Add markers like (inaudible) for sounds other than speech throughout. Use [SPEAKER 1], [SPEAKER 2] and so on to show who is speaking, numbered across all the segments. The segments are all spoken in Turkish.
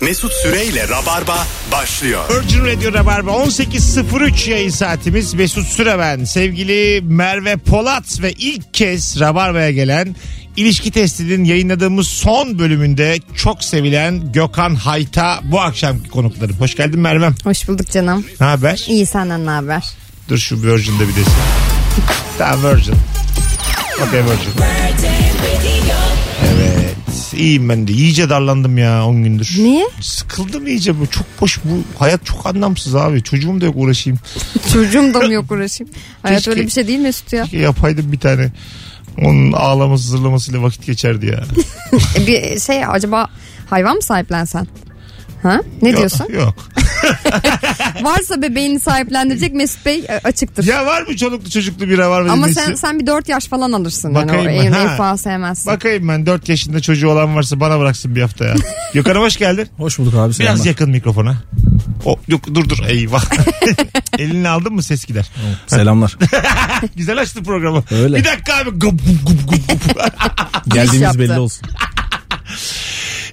[SPEAKER 1] Mesut Süreyle Rabarba başlıyor.
[SPEAKER 2] Virgin Radio Rabarba 18.03 yayın saatimiz. Mesut Süre ben. Sevgili Merve Polat ve ilk kez Rabarba'ya gelen ilişki testinin yayınladığımız son bölümünde çok sevilen Gökhan Hayta bu akşamki konuklarım. Hoş geldin Merve'm.
[SPEAKER 3] Hoş bulduk canım.
[SPEAKER 2] Ne haber?
[SPEAKER 3] İyi senden ne haber? (laughs)
[SPEAKER 2] Dur şu Virgin'de bir desin. Tamam Virgin. Okay Virgin. Evet. İyiyim ben de. İyice darlandım ya 10 gündür.
[SPEAKER 3] Niye?
[SPEAKER 2] Sıkıldım iyice bu. Çok boş bu. Hayat çok anlamsız abi. Çocuğum da yok uğraşayım.
[SPEAKER 3] Çocuğum da mı yok uğraşayım? Hayat
[SPEAKER 2] Keşke-
[SPEAKER 3] öyle bir şey değil Mesut ya.
[SPEAKER 2] Keşke yapaydım bir tane. Onun ağlaması zırlamasıyla vakit geçerdi ya.
[SPEAKER 3] E, bir şey acaba hayvan mı sahiplensen? Ha? (laughs)
[SPEAKER 2] (laughs)
[SPEAKER 3] Ne diyorsun?
[SPEAKER 2] Yok, yok.
[SPEAKER 3] Varsa bebeğini sahiplendirecek Mesut Bey e, açıktır.
[SPEAKER 2] Ya var mı çoluklu çocuklu biri var mı?
[SPEAKER 3] Ama
[SPEAKER 2] dinleyicisi?
[SPEAKER 3] sen sen bir 4 yaş falan alırsın.
[SPEAKER 2] Bakayım
[SPEAKER 3] yani o
[SPEAKER 2] ben,
[SPEAKER 3] en,
[SPEAKER 2] ha.
[SPEAKER 3] en fazla sevmezsin.
[SPEAKER 2] Bakayım ben 4 yaşında çocuğu olan varsa bana bıraksın bir hafta
[SPEAKER 3] (laughs)
[SPEAKER 2] ya. Gökhan'ım hoş geldin.
[SPEAKER 4] Hoş bulduk abi
[SPEAKER 2] Biraz
[SPEAKER 4] selamlar.
[SPEAKER 2] yakın mikrofona. O, yok, dur dur
[SPEAKER 3] (laughs)
[SPEAKER 2] eyvah. Elini aldın mı ses gider. (laughs)
[SPEAKER 4] Selamlar.
[SPEAKER 2] Güzel açtın programı.
[SPEAKER 4] Öyle.
[SPEAKER 2] Bir dakika abi. Gup, gup, gup, gup, gup.
[SPEAKER 3] yaptı.
[SPEAKER 4] Geldiğimiz belli olsun.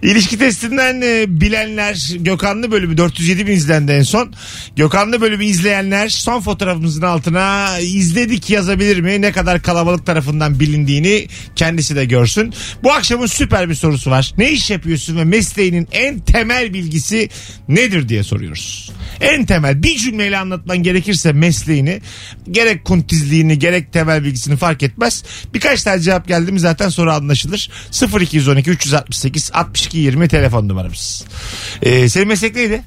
[SPEAKER 2] İlişki testinden e, bilenler Gökhanlı bölümü 407 bin izlendi en son. Gökhanlı bölümü izleyenler son fotoğrafımızın altına izledik yazabilir mi? Ne kadar kalabalık tarafından bilindiğini kendisi de görsün. Bu akşamın süper bir sorusu var. Ne iş yapıyorsun ve mesleğinin en temel bilgisi nedir diye soruyoruz. En temel bir cümleyle anlatman gerekirse mesleğini gerek kuntizliğini gerek temel bilgisini fark etmez. Birkaç tane cevap geldi mi zaten soru anlaşılır. 0212 368 62 20 telefon numaramız. Ee, senin meslek neydi?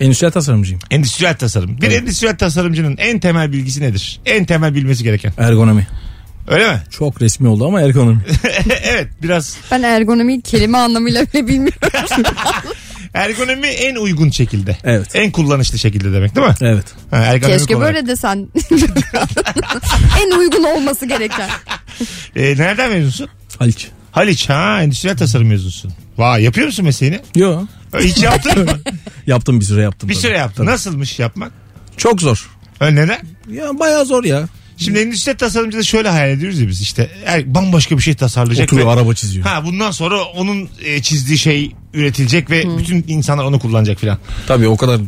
[SPEAKER 4] Endüstriyel tasarımcıyım.
[SPEAKER 2] Endüstriyel tasarım. Bir
[SPEAKER 4] Evet.
[SPEAKER 2] endüstriyel tasarımcının en temel bilgisi nedir? En temel bilmesi gereken.
[SPEAKER 4] Ergonomi.
[SPEAKER 2] Öyle mi?
[SPEAKER 4] Çok resmi oldu ama
[SPEAKER 2] (laughs)
[SPEAKER 4] ergonomi.
[SPEAKER 2] E, evet biraz
[SPEAKER 3] Ben ergonomiyi kelime anlamıyla bile bilmiyorum.
[SPEAKER 2] ergonomi en uygun şekilde.
[SPEAKER 4] Evet.
[SPEAKER 2] En kullanışlı şekilde demek değil mi?
[SPEAKER 4] Evet.
[SPEAKER 2] Ha, ergonomik
[SPEAKER 3] Keşke
[SPEAKER 2] olarak.
[SPEAKER 3] böyle desen. (laughs) en uygun olması gereken.
[SPEAKER 2] Ee, nereden mezunsun?
[SPEAKER 4] Haliç.
[SPEAKER 2] Haliç ha endüstriyel tasarım mezunusun. Vay yapıyor musun mesleğini?
[SPEAKER 4] Yo.
[SPEAKER 2] Hiç yaptın
[SPEAKER 4] (laughs)
[SPEAKER 2] mı?
[SPEAKER 4] Yaptım bir süre yaptım.
[SPEAKER 2] Bir
[SPEAKER 4] tabii.
[SPEAKER 2] süre yaptın.
[SPEAKER 4] Tabii.
[SPEAKER 2] Nasılmış yapmak?
[SPEAKER 4] Çok zor.
[SPEAKER 2] Öyle neden?
[SPEAKER 4] Ya bayağı zor ya.
[SPEAKER 2] Şimdi endüstri tasarımcıda şöyle hayal ediyoruz ya biz işte er- bambaşka bir şey tasarlayacak.
[SPEAKER 4] Oturuyor
[SPEAKER 2] ve-
[SPEAKER 4] araba çiziyor.
[SPEAKER 2] Ha bundan sonra onun e, çizdiği şey üretilecek ve bütün insanlar onu kullanacak filan.
[SPEAKER 4] Tabii o kadar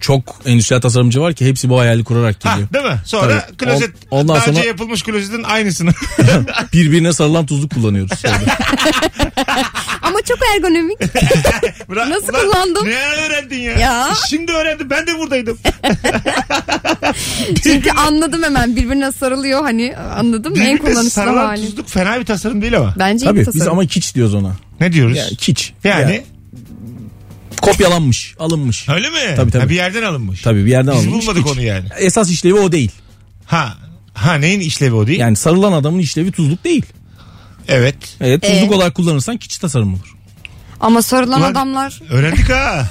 [SPEAKER 4] çok endüstriyel tasarımcı var ki hepsi bu hayali kurarak
[SPEAKER 2] Ha
[SPEAKER 4] geliyor.
[SPEAKER 2] değil mi? Sonra
[SPEAKER 4] Tabii.
[SPEAKER 2] klozet
[SPEAKER 4] On- ondan
[SPEAKER 2] daha önce
[SPEAKER 4] sonra-
[SPEAKER 2] yapılmış klozetin aynısını. (laughs)
[SPEAKER 4] Birbirine sarılan tuzluk kullanıyoruz. orada.
[SPEAKER 3] Ama çok
[SPEAKER 2] (laughs)
[SPEAKER 3] ergonomik.
[SPEAKER 2] Bırak-
[SPEAKER 3] Nasıl
[SPEAKER 2] Ulan,
[SPEAKER 3] kullandın?
[SPEAKER 2] Ne öğrendin ya?
[SPEAKER 3] Ya.
[SPEAKER 2] Şimdi öğrendim ben de
[SPEAKER 3] (laughs)
[SPEAKER 2] buradaydım.
[SPEAKER 3] Çünkü anladım hemen birbirine sarılıyor hani anladım en
[SPEAKER 2] Birbirine
[SPEAKER 3] kullanışlı
[SPEAKER 2] sarılan
[SPEAKER 3] hali.
[SPEAKER 2] tuzluk fena bir tasarım değil ama.
[SPEAKER 3] Bence iyi
[SPEAKER 4] Tabii
[SPEAKER 3] bir
[SPEAKER 4] biz
[SPEAKER 3] tasarım.
[SPEAKER 4] ama kiç diyoruz ona.
[SPEAKER 2] Ne diyoruz?
[SPEAKER 4] Yani kiç.
[SPEAKER 2] Yani,
[SPEAKER 4] Ya, kopyalanmış, alınmış.
[SPEAKER 2] öyle mi?
[SPEAKER 4] Tabii, tabii.
[SPEAKER 2] Ha, bir yerden alınmış.
[SPEAKER 4] Tabii bir yerden
[SPEAKER 2] Biz
[SPEAKER 4] alınmış.
[SPEAKER 2] bulmadık
[SPEAKER 4] kiç.
[SPEAKER 2] onu yani.
[SPEAKER 4] Esas işlevi o değil.
[SPEAKER 2] Ha. Ha neyin işlevi o değil?
[SPEAKER 4] Yani sarılan adamın işlevi tuzluk değil.
[SPEAKER 2] Evet.
[SPEAKER 4] Evet, tuzluk
[SPEAKER 3] Ee?
[SPEAKER 4] olarak kullanırsan kiç tasarım olur.
[SPEAKER 3] Ama sarılan
[SPEAKER 2] Ulan-
[SPEAKER 3] adamlar
[SPEAKER 2] Öğrendik
[SPEAKER 4] (laughs)
[SPEAKER 2] ha.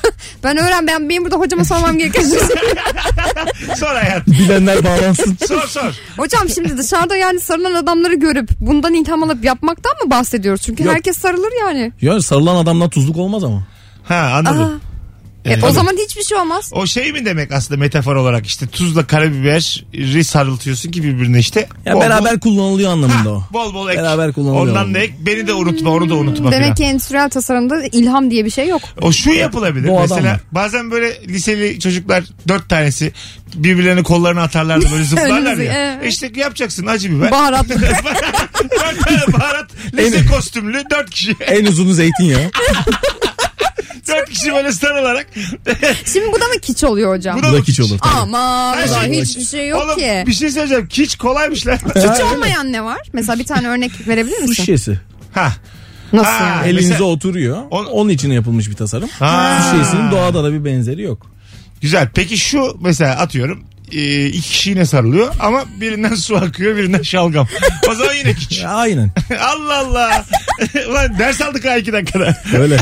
[SPEAKER 3] ben öğren ben benim burada hocama
[SPEAKER 2] (laughs)
[SPEAKER 3] sormam gereken şey.
[SPEAKER 2] Sor hayat.
[SPEAKER 4] Bilenler bağlansın.
[SPEAKER 2] Sor sor.
[SPEAKER 3] Hocam şimdi dışarıda yani sarılan adamları görüp bundan ilham alıp yapmaktan mı bahsediyoruz? Çünkü
[SPEAKER 4] Yok.
[SPEAKER 3] herkes sarılır yani.
[SPEAKER 4] (laughs) Ya sarılan adamdan tuzluk olmaz ama.
[SPEAKER 2] Ha anladım.
[SPEAKER 3] E,
[SPEAKER 2] Evet.
[SPEAKER 3] o zaman hiçbir şey olmaz.
[SPEAKER 2] O şey mi demek aslında metafor olarak işte tuzla karabiberi sarıltıyorsun ki birbirine işte.
[SPEAKER 4] Ya
[SPEAKER 2] Bol
[SPEAKER 4] beraber kullanılıyor anlamında o.
[SPEAKER 2] Bol, bol bol ek.
[SPEAKER 4] Beraber kullanılıyor.
[SPEAKER 2] Ondan da ek. Beni de unutma onu da unutma. falan.
[SPEAKER 3] Demek ki endüstriyel tasarımda ilham diye bir şey yok.
[SPEAKER 2] O şu yapılabilir.
[SPEAKER 4] Doğadan
[SPEAKER 2] Mesela
[SPEAKER 4] var.
[SPEAKER 2] bazen böyle liseli çocuklar dört tanesi birbirlerine kollarını atarlar
[SPEAKER 3] (laughs)
[SPEAKER 2] da böyle zıplarlar
[SPEAKER 3] Önünüze,
[SPEAKER 2] ya.
[SPEAKER 3] şey, evet.
[SPEAKER 2] İşte yapacaksın acı biber.
[SPEAKER 3] Baharatlı.
[SPEAKER 2] dört tane (laughs) baharat. Lise kostümlü dört kişi.
[SPEAKER 4] En uzunu zeytinyağı.
[SPEAKER 2] dört kişi böyle sarılarak. E,
[SPEAKER 3] Şimdi bu da mı kiç oluyor hocam?
[SPEAKER 2] Bu da
[SPEAKER 4] Bu da kiç olur. tabii.
[SPEAKER 3] Ama
[SPEAKER 2] Her
[SPEAKER 3] ulan
[SPEAKER 2] şey-
[SPEAKER 3] hiçbir şey yok
[SPEAKER 2] Oğlum,
[SPEAKER 3] ki.
[SPEAKER 2] bir şey söyleyeceğim. Hiç kolaymış
[SPEAKER 3] (laughs)
[SPEAKER 2] lan.
[SPEAKER 3] Hiç olmayan ne var? Mesela bir tane örnek verebilir
[SPEAKER 4] (laughs) Su
[SPEAKER 3] misin?
[SPEAKER 4] şişesi.
[SPEAKER 2] ha.
[SPEAKER 3] Nasıl
[SPEAKER 2] Ha,
[SPEAKER 3] yani?
[SPEAKER 4] Elinize
[SPEAKER 2] Mesela-
[SPEAKER 4] oturuyor.
[SPEAKER 2] On-
[SPEAKER 4] Onun için yapılmış bir tasarım.
[SPEAKER 2] Ha.
[SPEAKER 4] Su şişesinin doğada da bir benzeri yok.
[SPEAKER 2] Güzel. Peki şu mesela atıyorum e, iki kişi yine sarılıyor ama birinden su akıyor birinden şalgam. O zaman yine
[SPEAKER 3] (laughs)
[SPEAKER 2] kiç.
[SPEAKER 4] Ya, (laughs) aynen.
[SPEAKER 2] Allah Allah. (laughs) Ulan ders aldık ha iki dakikada.
[SPEAKER 4] Öyle.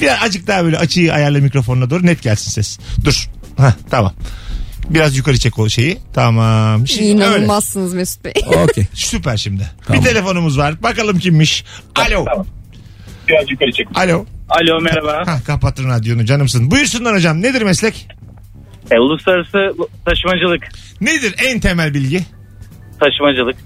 [SPEAKER 2] Biraz acık daha böyle açıyı ayarla mikrofonuna doğru net gelsin ses. Dur. Hah, tamam. Biraz yukarı çek o şeyi. Tamam. Şimdi öyle.
[SPEAKER 3] İnanılmazsınız Mesut Bey.
[SPEAKER 4] Okey.
[SPEAKER 2] Süper şimdi.
[SPEAKER 4] Tamam.
[SPEAKER 2] Bir telefonumuz var. Bakalım kimmiş. Alo.
[SPEAKER 5] Biraz yukarı çek.
[SPEAKER 2] Alo.
[SPEAKER 5] Alo merhaba.
[SPEAKER 2] Hah, kapattın radyonu canımsın. Buyursunlar hocam. Nedir meslek?
[SPEAKER 5] E, uluslararası taşımacılık.
[SPEAKER 2] Nedir en temel bilgi?
[SPEAKER 5] Taşımacılık.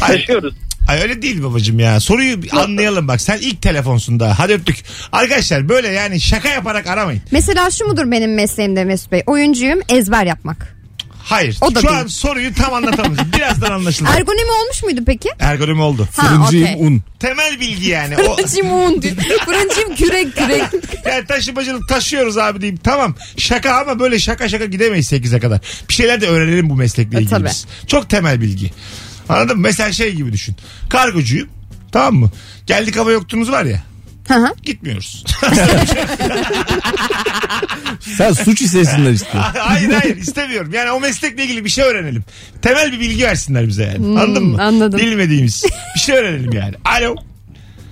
[SPEAKER 2] Ay,
[SPEAKER 5] Taşıyoruz.
[SPEAKER 2] Ay öyle değil babacım ya. Soruyu bir anlayalım bak. Sen ilk telefonsun daha. Hadi öptük. Arkadaşlar böyle yani şaka yaparak aramayın.
[SPEAKER 3] Mesela şu mudur benim mesleğimde Mesut Bey? Oyuncuyum ezber yapmak.
[SPEAKER 2] Hayır.
[SPEAKER 3] O da
[SPEAKER 2] Şu
[SPEAKER 3] değil.
[SPEAKER 2] an soruyu tam anlatamıyoruz. Birazdan anlaşılır.
[SPEAKER 3] Ergonomi olmuş muydu peki?
[SPEAKER 2] Ergonomi oldu.
[SPEAKER 4] Fırıncıyım
[SPEAKER 3] okey.
[SPEAKER 4] un.
[SPEAKER 2] Temel bilgi yani.
[SPEAKER 3] (laughs)
[SPEAKER 2] O,
[SPEAKER 3] Fırıncıyım un diyor. Fırıncıyım kürek kürek.
[SPEAKER 2] yani taşımacılık taşıyoruz abi diyeyim. Tamam şaka ama böyle şaka şaka gidemeyiz 8'e kadar. Bir şeyler de öğrenelim bu meslekle
[SPEAKER 3] E,
[SPEAKER 2] ilgili.
[SPEAKER 3] tabii.
[SPEAKER 2] biz. Çok temel bilgi. Anladın mı? Mesela şey gibi düşün. Kargocuyum. Tamam mı? Geldik hava yoktunuz var ya.
[SPEAKER 3] Hı hı.
[SPEAKER 2] Gitmiyoruz. (laughs)
[SPEAKER 4] Sen suç istesinler (laughs) istiyorsun.
[SPEAKER 2] hayır hayır istemiyorum. Yani o meslekle ilgili bir şey öğrenelim. Temel bir bilgi versinler bize yani. Anladın mı?
[SPEAKER 3] Hmm, anladım.
[SPEAKER 2] Bilmediğimiz. Bir şey öğrenelim yani. Alo.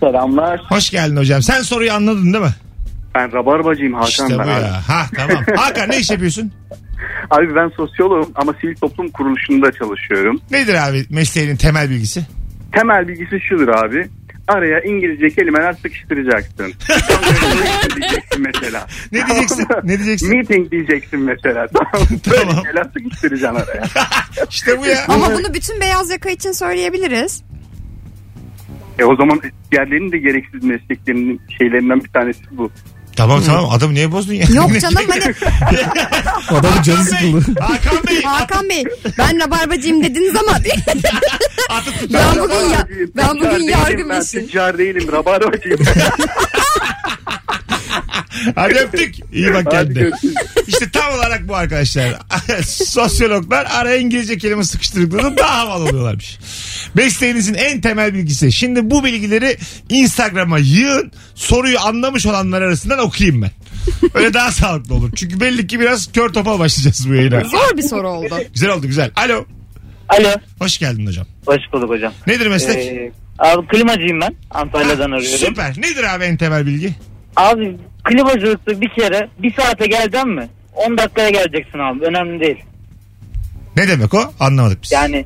[SPEAKER 5] Selamlar.
[SPEAKER 2] Hoş geldin hocam. Sen soruyu anladın değil mi?
[SPEAKER 5] Ben rabarbacıyım Hakan
[SPEAKER 2] işte
[SPEAKER 5] ben
[SPEAKER 2] bu
[SPEAKER 5] abi.
[SPEAKER 2] ya. Ha tamam. Hakan ne iş yapıyorsun?
[SPEAKER 5] Abi ben sosyoloğum ama sivil toplum kuruluşunda çalışıyorum.
[SPEAKER 2] Nedir abi mesleğinin temel bilgisi?
[SPEAKER 5] Temel bilgisi şudur abi. Araya İngilizce
[SPEAKER 2] (laughs)
[SPEAKER 5] kelimeler sıkıştıracaksın. şey diyeceksin mesela.
[SPEAKER 2] Ne diyeceksin?
[SPEAKER 5] Tamam mı?
[SPEAKER 2] Ne diyeceksin?
[SPEAKER 5] Meeting diyeceksin mesela. Tamam. mı? Böyle
[SPEAKER 2] Tamam.
[SPEAKER 5] şeyler sıkıştıracaksın araya.
[SPEAKER 2] İşte bu ya.
[SPEAKER 3] Ama bunu bütün beyaz yaka için söyleyebiliriz.
[SPEAKER 5] E o zaman diğerlerinin de gereksiz mesleklerinin şeylerinden bir tanesi bu.
[SPEAKER 2] tamam tamam adamı niye bozdun ya? (laughs)
[SPEAKER 3] Yok canım hani
[SPEAKER 4] Adamın canı
[SPEAKER 2] Hakan Bey,
[SPEAKER 4] sıkıldı.
[SPEAKER 2] Hakan Bey at-
[SPEAKER 3] Hakan Bey ben rabarbacıyım dediniz ama (laughs)
[SPEAKER 2] atı tutar.
[SPEAKER 3] ben bugün ya,
[SPEAKER 5] Rabarbacıyım,
[SPEAKER 3] ben
[SPEAKER 5] tüccar
[SPEAKER 3] bugün
[SPEAKER 5] değilim,
[SPEAKER 3] yargı
[SPEAKER 5] Ben
[SPEAKER 3] meşhur.
[SPEAKER 5] tüccar değilim, rabarbacıyım.
[SPEAKER 2] Hadi öptük. İyi bak
[SPEAKER 5] Hadi
[SPEAKER 2] kendine.
[SPEAKER 5] görüşürüz.
[SPEAKER 2] İşte tam olarak bu arkadaşlar. (laughs) Sosyologlar araya İngilizce kelime sıkıştırdıklarında daha havalı oluyorlarmış. Mesleğinizin en temel bilgisi. Şimdi bu bilgileri Instagram'a yığın. Soruyu anlamış olanlar arasından okuyayım ben. Öyle daha sağlıklı olur. Çünkü belli ki biraz kör topal başlayacağız bu yayına.
[SPEAKER 3] Zor bir soru oldu.
[SPEAKER 2] Güzel oldu güzel. Alo.
[SPEAKER 6] Alo.
[SPEAKER 2] Hoş geldin hocam.
[SPEAKER 6] Hoş bulduk hocam.
[SPEAKER 2] Nedir meslek?
[SPEAKER 6] Ee, abi klimacıyım ben. Antalya'dan arıyorum.
[SPEAKER 2] Süper. Nedir abi en temel bilgi?
[SPEAKER 6] Abi klimacılıkta bir kere bir saate geldin mi? 10 dakikaya geleceksin abi. Önemli değil.
[SPEAKER 2] Ne demek o? Anlamadık biz.
[SPEAKER 6] Yani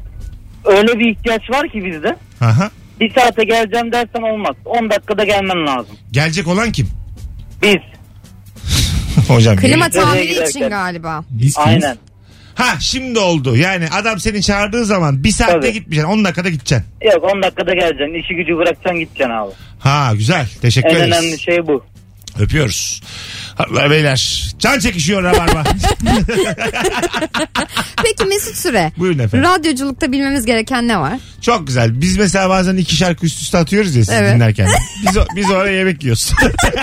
[SPEAKER 6] öyle bir ihtiyaç var ki bizde.
[SPEAKER 2] Aha.
[SPEAKER 6] Bir saate geleceğim dersen olmaz. 10 dakikada gelmen lazım.
[SPEAKER 2] Gelecek olan kim? (laughs)
[SPEAKER 6] Biz.
[SPEAKER 2] hocam.
[SPEAKER 3] Klima
[SPEAKER 6] Nereye
[SPEAKER 3] tamiri için
[SPEAKER 6] giderken?
[SPEAKER 3] galiba.
[SPEAKER 4] Biz
[SPEAKER 6] Aynen.
[SPEAKER 2] Ha şimdi oldu. Yani adam seni çağırdığı zaman bir saatte
[SPEAKER 6] Tabii.
[SPEAKER 2] gitmeyeceksin. 10 dakikada gideceksin.
[SPEAKER 6] Yok 10 dakikada geleceksin. İşi gücü bırakacaksın gideceksin abi.
[SPEAKER 2] Ha güzel. Teşekkür
[SPEAKER 6] En
[SPEAKER 2] ederiz.
[SPEAKER 6] önemli şey bu.
[SPEAKER 2] Öpüyoruz. Hanımlar beyler. Can çekişiyor rabarba.
[SPEAKER 6] (laughs)
[SPEAKER 3] Peki Mesut Süre.
[SPEAKER 2] Buyurun efendim.
[SPEAKER 3] Radyoculukta bilmemiz gereken ne var?
[SPEAKER 2] Çok güzel. Biz mesela bazen iki şarkı üst üste atıyoruz ya siz
[SPEAKER 3] Evet.
[SPEAKER 2] dinlerken. Biz, o- biz oraya yemek yiyoruz.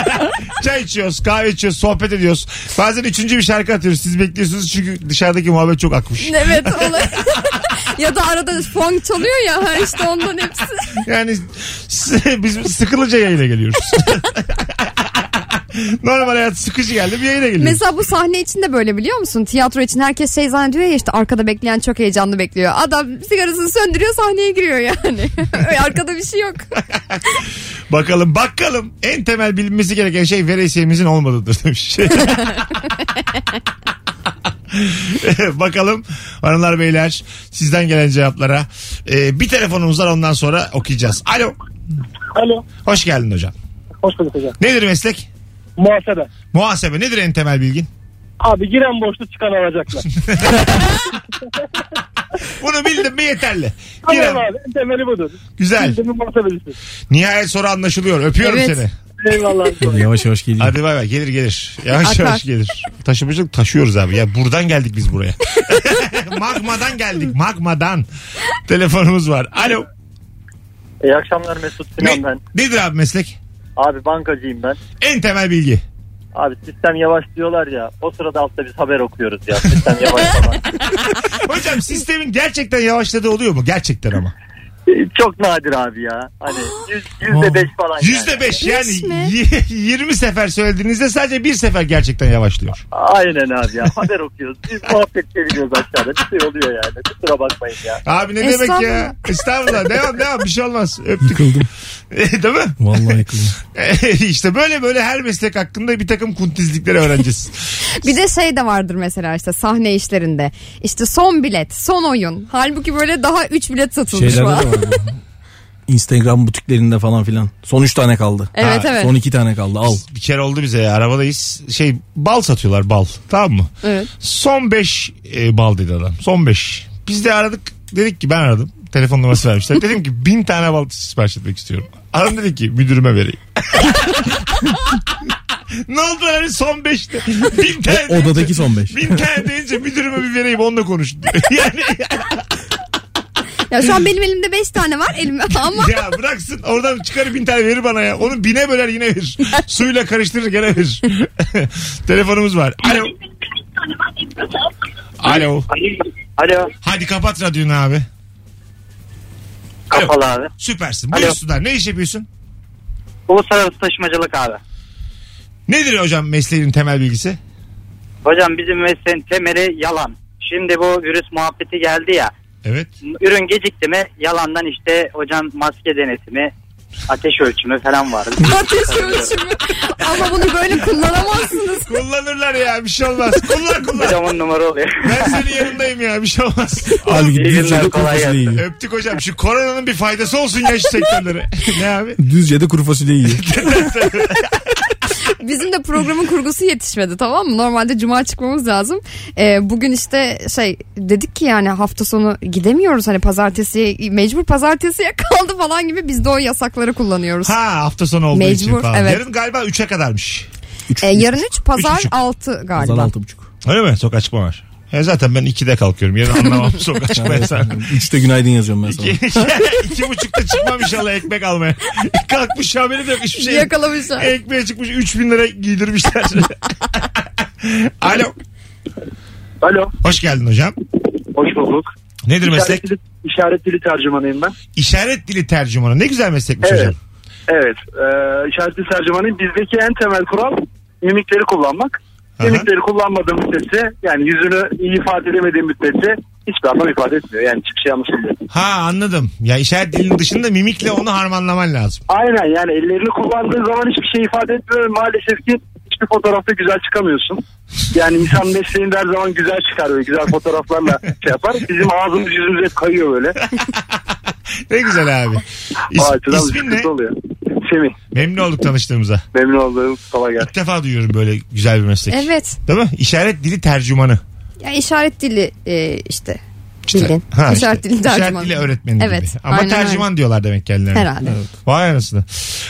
[SPEAKER 2] (laughs) Çay içiyoruz, kahve içiyoruz, sohbet ediyoruz. Bazen üçüncü bir şarkı atıyoruz. Siz bekliyorsunuz çünkü dışarıdaki muhabbet çok akmış.
[SPEAKER 3] Evet olay. (laughs) ya da arada fon çalıyor ya ha işte ondan hepsi.
[SPEAKER 2] Yani (laughs) s- biz sıkılınca yayına geliyoruz. (laughs) Normal hayat sıkıcı geldi bir yayına geliyoruz.
[SPEAKER 3] Mesela bu sahne için de böyle biliyor musun? Tiyatro için herkes şey zannediyor ya işte arkada bekleyen çok heyecanlı bekliyor. Adam sigarasını söndürüyor sahneye giriyor yani. (laughs) Öyle arkada bir
[SPEAKER 4] (laughs)
[SPEAKER 3] şey yok.
[SPEAKER 2] Bakalım bakalım en temel bilinmesi gereken şey veresiyemizin olmadığıdır demiş. (laughs) bakalım hanımlar beyler sizden gelen cevaplara. Ee, bir telefonumuz var ondan sonra okuyacağız. Alo.
[SPEAKER 7] Alo.
[SPEAKER 2] Hoş geldin hocam.
[SPEAKER 7] Hoş bulduk hocam.
[SPEAKER 2] Nedir meslek?
[SPEAKER 7] Muhasebe.
[SPEAKER 2] Muhasebe nedir en temel bilgin?
[SPEAKER 7] Abi giren borçlu çıkan alacaklar.
[SPEAKER 2] Bunu bildim mi yeterli.
[SPEAKER 7] tamam
[SPEAKER 2] İrem,
[SPEAKER 7] abi. en Temeli budur.
[SPEAKER 2] güzel.
[SPEAKER 7] Bizim muhasebecisi.
[SPEAKER 2] Nihayet soru anlaşılıyor. Öpüyorum
[SPEAKER 3] Evet.
[SPEAKER 2] seni.
[SPEAKER 7] Eyvallah.
[SPEAKER 4] Yavaş yavaş geliyor.
[SPEAKER 2] Hadi bay bay gelir gelir. Yavaş
[SPEAKER 3] Akar.
[SPEAKER 2] yavaş gelir. Taşımacılık taşıyoruz abi. Ya buradan geldik biz buraya. Magmadan geldik. Magmadan. Telefonumuz var. Alo.
[SPEAKER 8] İyi akşamlar Mesut
[SPEAKER 2] Ne,
[SPEAKER 8] Sinan ben.
[SPEAKER 2] nedir abi meslek?
[SPEAKER 8] Abi bankacıyım ben.
[SPEAKER 2] En temel bilgi.
[SPEAKER 8] Abi sistem yavaş diyorlar ya. O sırada altta biz haber okuyoruz ya. Sistem (laughs) yavaş falan.
[SPEAKER 2] Hocam sistemin gerçekten yavaşladığı oluyor mu? Gerçekten ama.
[SPEAKER 8] Ee, (laughs) Çok nadir abi ya. Hani yüz, yüzde beş falan yani.
[SPEAKER 2] Yüzde beş yani
[SPEAKER 3] Beş mi?
[SPEAKER 2] y- (laughs) 20 sefer söylediğinizde sadece bir sefer gerçekten yavaşlıyor.
[SPEAKER 8] Aynen abi ya. Haber okuyoruz. Biz muhabbet ediyoruz aşağıda. Bir şey oluyor yani. Kusura bakmayın ya.
[SPEAKER 2] Abi ne demek ya? Estağfurullah. Devam devam bir şey olmaz.
[SPEAKER 4] (laughs)
[SPEAKER 2] Öptük.
[SPEAKER 4] Yıkıldım.
[SPEAKER 2] Değil mi?
[SPEAKER 4] Vallahi yıkıldım.
[SPEAKER 2] (laughs) işte böyle böyle her meslek hakkında bir takım kuntizlikleri
[SPEAKER 4] (laughs)
[SPEAKER 2] öğreneceğiz.
[SPEAKER 3] Bir de şey de vardır mesela işte sahne işlerinde. İşte son bilet, son oyun. Halbuki böyle daha 3 bilet satılmış
[SPEAKER 4] (laughs) Şeylerde de
[SPEAKER 3] falan.
[SPEAKER 4] var. bu. Instagram butiklerinde falan filan. Son 3 tane kaldı.
[SPEAKER 3] Evet evet.
[SPEAKER 4] Son 2 tane kaldı. Al.
[SPEAKER 2] bir kere oldu bize ya arabadayız. Şey bal satıyorlar bal. Tamam mı?
[SPEAKER 3] (laughs)
[SPEAKER 2] e,
[SPEAKER 3] Evet.
[SPEAKER 2] Son 5 bal dedi adam. Son 5. Biz de aradık. Dedik ki ben aradım. Telefon numarası vermişler. Dedim ki bin tane balık sipariş etmek istiyorum. Adam dedi ki müdürüme vereyim. (laughs) ne oldu hani son beşte? Bin tane.
[SPEAKER 4] E, Odadaki son 5.
[SPEAKER 2] Bin tane deyince müdürüme bir vereyim onunla konuş. (laughs) Yani
[SPEAKER 3] Ya şu an benim elimde 5 tane var elime (laughs)
[SPEAKER 4] (laughs)
[SPEAKER 3] ama
[SPEAKER 2] ya bıraksın oradan çıkarıp bin tane verir bana ya. Onu bine böler yine verir. Suyla karıştırır gene verir. (laughs) Telefonumuz var. Alo. Alo.
[SPEAKER 8] Alo.
[SPEAKER 2] Hadi kapat radyonu abi.
[SPEAKER 8] Kapalı abi.
[SPEAKER 2] Süpersin.
[SPEAKER 8] Alo.
[SPEAKER 2] Buyursunlar. Ne iş yapıyorsun?
[SPEAKER 8] Uluslararası taşımacılık abi.
[SPEAKER 2] Nedir hocam mesleğin temel bilgisi?
[SPEAKER 8] Hocam bizim mesleğin temeli yalan. Şimdi bu virüs muhabbeti geldi ya.
[SPEAKER 2] Evet.
[SPEAKER 8] Ürün gecikti mi yalandan işte hocam maske denetimi, ateş ölçümü falan var.
[SPEAKER 3] ateş ölçümü. Ama bunu böyle kullanamazsınız.
[SPEAKER 2] Kullanırlar ya bir şey olmaz. Kullan kullan.
[SPEAKER 8] hocam on numara oluyor.
[SPEAKER 2] Ben senin yanındayım ya bir şey olmaz.
[SPEAKER 4] Halbuki
[SPEAKER 8] İyi günler,
[SPEAKER 4] Düzce'de kuru
[SPEAKER 8] kolay
[SPEAKER 4] fasulye
[SPEAKER 8] gelsin.
[SPEAKER 4] yiyor.
[SPEAKER 2] Öptük hocam. Şu koronanın bir faydası olsun ya şu sektörlere. (laughs) ne abi?
[SPEAKER 4] Düzce'de kuru fasulye yiyor.
[SPEAKER 3] Bizim de programın kurgusu yetişmedi tamam mı? Normalde cuma çıkmamız lazım. Ee, bugün işte şey dedik ki yani hafta sonu gidemiyoruz hani pazartesiye mecbur pazartesiye (laughs) kaldı falan gibi biz de o yasakları kullanıyoruz.
[SPEAKER 2] Ha hafta sonu olduğu için
[SPEAKER 3] Mecbur,
[SPEAKER 2] falan.
[SPEAKER 3] evet.
[SPEAKER 2] Yarın galiba 3'e kadarmış.
[SPEAKER 3] Ee, yarın 3 pazar
[SPEAKER 2] buçuk.
[SPEAKER 3] 6 galiba.
[SPEAKER 4] Zan 6.5.
[SPEAKER 2] Öyle mi? Sokağa çıkma var. E zaten ben 2'de kalkıyorum. Yarın anlamam sokağa
[SPEAKER 4] (laughs)
[SPEAKER 2] çıkmaya sen.
[SPEAKER 4] 3'te günaydın yazıyorum ben sana.
[SPEAKER 2] (laughs) İki buçukta çıkmam inşallah ekmek almaya. (laughs) Kalkmış haberi de yok hiçbir şey. yok.
[SPEAKER 3] Yakalamışlar.
[SPEAKER 2] Ekmeğe çıkmış 3000 lira giydirmişler. (laughs) Alo.
[SPEAKER 7] Alo.
[SPEAKER 2] Hoş geldin hocam.
[SPEAKER 7] Hoş bulduk.
[SPEAKER 2] Nedir meslek?
[SPEAKER 7] İşaret dili, işaret dili tercümanıyım ben.
[SPEAKER 2] İşaret dili tercümanı. Ne güzel meslekmiş
[SPEAKER 7] Evet.
[SPEAKER 2] hocam.
[SPEAKER 7] Evet. E, işaret dili tercümanıyım. Bizdeki en temel kural mimikleri kullanmak.
[SPEAKER 2] Aha.
[SPEAKER 7] Mimikleri kullanmadığım müddetçe yani yüzünü iyi ifade edemediğim müddetçe hiçbir anlam ifade etmiyor. Yani çıkışı yanlış oluyor.
[SPEAKER 2] Ha anladım. Ya işaret dilinin dışında mimikle onu harmanlaman lazım.
[SPEAKER 7] Aynen yani ellerini kullandığın zaman hiçbir şey ifade etmiyor. ve Maalesef ki hiçbir fotoğrafta güzel çıkamıyorsun. Yani
[SPEAKER 2] (laughs)
[SPEAKER 7] insan mesleğinde her zaman güzel çıkar ve güzel fotoğraflarla şey yapar. Bizim ağzımız yüzümüz hep kayıyor böyle.
[SPEAKER 2] Ne güzel abi.
[SPEAKER 7] O
[SPEAKER 2] İs,
[SPEAKER 7] açıdan
[SPEAKER 2] ismin ne?
[SPEAKER 7] sıkıntı oluyor. Semih
[SPEAKER 2] Memnun olduk tanıştığımıza.
[SPEAKER 7] memnun oldum. Kolay gelsin.
[SPEAKER 2] İlk defa duyuyorum böyle güzel bir meslek.
[SPEAKER 3] Evet.
[SPEAKER 2] Değil mi? İşaret dili tercümanı.
[SPEAKER 3] Ya işaret dili e, işte.
[SPEAKER 2] İşte.
[SPEAKER 3] Dilin.
[SPEAKER 2] Ha,
[SPEAKER 3] İşaret dili tercümanı.
[SPEAKER 2] İşaret dili öğretmeni
[SPEAKER 3] Evet,
[SPEAKER 2] gibi. Ama
[SPEAKER 3] aynen
[SPEAKER 2] tercüman diyorlar demek kendilerine.
[SPEAKER 3] Herhalde.
[SPEAKER 2] Evet. Vay anasını.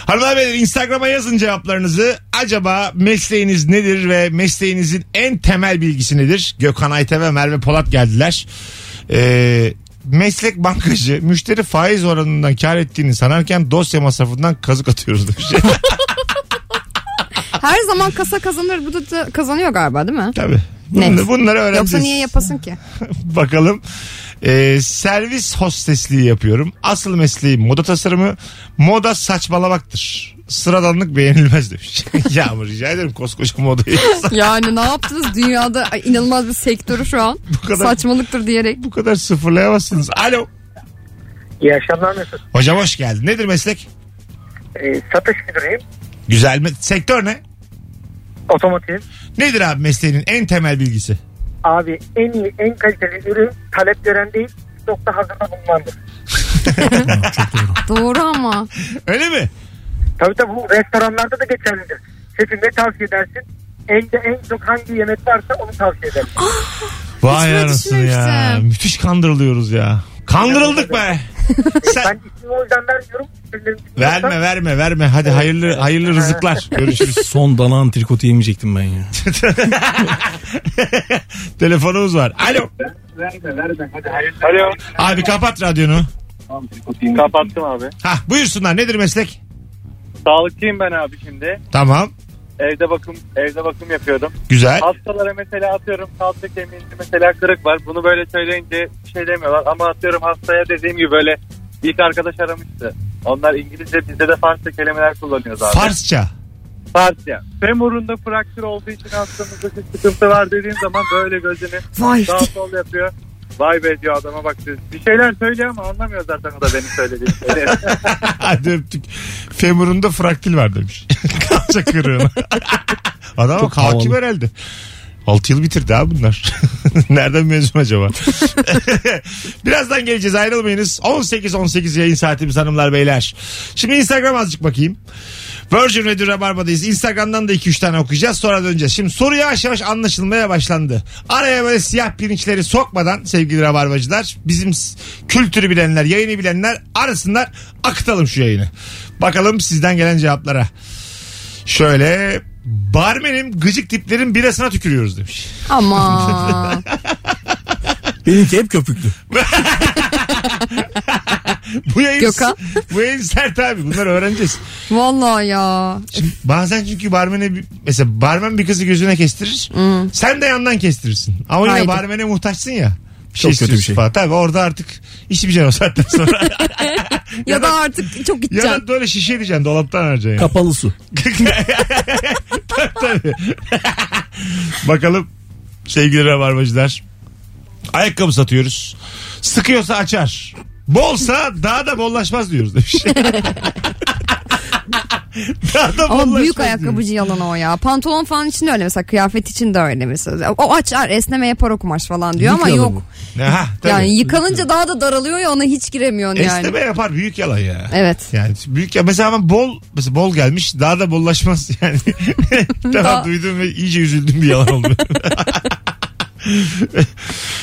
[SPEAKER 2] Hanımlar beyler Instagram'a yazın cevaplarınızı. Acaba mesleğiniz nedir ve mesleğinizin en temel bilgisi nedir? Gökhan Ayte ve Merve Polat geldiler. Ee, meslek bankacı müşteri faiz oranından kar ettiğini sanarken dosya masrafından kazık atıyoruz demiş. (laughs)
[SPEAKER 3] Her zaman kasa kazanır bu da- da kazanıyor galiba değil mi?
[SPEAKER 2] Tabii.
[SPEAKER 3] Net.
[SPEAKER 2] Bunları, bunları öğreneceğiz.
[SPEAKER 3] Yoksa niye
[SPEAKER 2] (laughs)
[SPEAKER 3] yapasın ki?
[SPEAKER 2] Bakalım. Ee, servis hostesliği yapıyorum. Asıl mesleğim moda tasarımı. Moda saçmalamaktır. Sıradanlık beğenilmez demiş. (laughs) Yağmur rica ederim koskoca modayı. (laughs)
[SPEAKER 3] Yani ne yaptınız dünyada ay, inanılmaz bir sektörü
[SPEAKER 2] (laughs)
[SPEAKER 3] şu an.
[SPEAKER 2] Bu kadar-
[SPEAKER 3] Saçmalıktır diyerek.
[SPEAKER 2] Bu kadar sıfırlayamazsınız. Alo.
[SPEAKER 6] İyi akşamlar Mesut.
[SPEAKER 2] Hocam hoş geldin. Nedir meslek?
[SPEAKER 6] Ee, satış müdürüyüm.
[SPEAKER 2] Güzel mi? Sektör ne?
[SPEAKER 6] Otomotiv.
[SPEAKER 2] Nedir abi mesleğinin en temel bilgisi?
[SPEAKER 6] Abi en iyi, en kaliteli ürün talep gören değil, stokta hazırda bulunandır.
[SPEAKER 3] Doğru ama.
[SPEAKER 2] Öyle mi?
[SPEAKER 6] Tabii tabii bu restoranlarda da geçerlidir. Şefim ne tavsiye edersin? En de en çok hangi yemek varsa onu tavsiye ederim.
[SPEAKER 2] Vay
[SPEAKER 3] böyle
[SPEAKER 2] anasını ya.
[SPEAKER 3] düşünmemiştim.
[SPEAKER 2] Müthiş kandırılıyoruz ya. Kandırıldık
[SPEAKER 6] (laughs)
[SPEAKER 2] be. Sen...
[SPEAKER 6] Ben ismini o yüzden vermiyorum. Ürünlerin ismini
[SPEAKER 2] Verme
[SPEAKER 6] yoksa-
[SPEAKER 2] verme verme. Hadi hayırlı hayırlı
[SPEAKER 6] (laughs)
[SPEAKER 2] rızıklar. Görüşürüz.
[SPEAKER 4] Son dana antrikotu yemeyecektim ben ya.
[SPEAKER 2] (laughs) Telefonumuz var. Alo.
[SPEAKER 7] Alo.
[SPEAKER 2] Abi kapat radyonu.
[SPEAKER 5] Kapattım abi.
[SPEAKER 2] Hah buyursunlar nedir meslek?
[SPEAKER 5] Sağlıkçıyım ben abi şimdi.
[SPEAKER 2] Tamam.
[SPEAKER 5] Evde bakım evde bakım yapıyordum.
[SPEAKER 2] Güzel.
[SPEAKER 5] Hastalara mesela atıyorum kalça kemiğinde mesela kırık var. Bunu böyle söyleyince bir şey demiyorlar. Ama atıyorum hastaya dediğim gibi böyle ilk arkadaş aramıştı. Onlar İngilizce bizde de Farsça kelimeler kullanıyoruz abi.
[SPEAKER 2] Farsça. (laughs)
[SPEAKER 5] Farsça. Femurunda fraktür olduğu için hastamızda bir sıkıntı var dediğim zaman böyle gözünü
[SPEAKER 3] Vay.
[SPEAKER 5] sağ sol yapıyor. Vay be diyor adama bak diyor. Bir şeyler söylüyor ama anlamıyor zaten o da benim söylediğimi.
[SPEAKER 2] Hadi öptük. Femurunda fraktil var demiş. (laughs) Kalça kırığına. (laughs) Adam
[SPEAKER 4] Çok
[SPEAKER 2] hakim
[SPEAKER 4] havalı.
[SPEAKER 2] herhalde. 6 yıl bitirdi abi bunlar. (laughs) Nereden mezun acaba? (laughs) Birazdan geleceğiz ayrılmayınız. 18-18 yayın saatimiz hanımlar beyler. Şimdi Instagram azıcık bakayım. Virgin Radio Rabarba'dayız. Instagram'dan da 2-3 tane okuyacağız. Sonra döneceğiz. Şimdi soru yavaş yavaş anlaşılmaya başlandı. Araya böyle siyah pirinçleri sokmadan sevgili Rabarbacılar bizim s- kültürü bilenler, yayını bilenler arasınlar. Akıtalım şu yayını. Bakalım sizden gelen cevaplara. Şöyle barmenim gıcık tiplerin birasına tükürüyoruz demiş.
[SPEAKER 3] Ama
[SPEAKER 4] Benimki hep köpüklü.
[SPEAKER 2] Bu yayın,
[SPEAKER 3] Gökhan.
[SPEAKER 2] bu yayın sert abi. Bunları öğreneceğiz.
[SPEAKER 3] vallahi ya.
[SPEAKER 2] Şimdi bazen çünkü barmene bir- mesela barmen bir kızı gözüne kestirir. Sen de yandan kestirirsin. Ama yine
[SPEAKER 3] Hmm. Haydi.
[SPEAKER 2] barmene muhtaçsın ya. Bir
[SPEAKER 4] Çok kötü bir
[SPEAKER 2] istiyorsun
[SPEAKER 4] şey.
[SPEAKER 2] Falan. Tabii orada artık içmeyeceksin o
[SPEAKER 3] (laughs)
[SPEAKER 2] saatten sonra.
[SPEAKER 3] Ya da artık çok
[SPEAKER 2] ya
[SPEAKER 3] gideceğim.
[SPEAKER 2] da böyle şişe edeceksin dolaptan harcayacaksın.
[SPEAKER 4] Kapalı su.
[SPEAKER 2] Bakalım sevgili rabarbacılar. Ayakkabı satıyoruz. Sıkıyorsa açar. Bolsa daha da bollaşmaz diyoruz demiş.
[SPEAKER 3] (laughs)
[SPEAKER 2] daha da
[SPEAKER 3] Ama
[SPEAKER 2] bollaşmaz
[SPEAKER 3] büyük
[SPEAKER 2] diyoruz.
[SPEAKER 3] ayakkabıcı yalanı o ya. Pantolon falan için de öyle mesela. Kıyafet için de öyle mesela. O açar esneme yapar o kumaş falan diyor ama
[SPEAKER 4] Yıkayalım
[SPEAKER 3] yok.
[SPEAKER 2] Ha, tabii.
[SPEAKER 3] Yani yıkanınca daha da daralıyor ya ona hiç giremiyorsun yani.
[SPEAKER 2] Esneme yapar büyük yalan ya.
[SPEAKER 3] Evet.
[SPEAKER 2] Yani büyük ya mesela ben bol mesela bol gelmiş daha da bollaşmaz (laughs) yani. tamam
[SPEAKER 3] Daha-
[SPEAKER 2] duydum ve iyice üzüldüm bir yalan oldu. (laughs)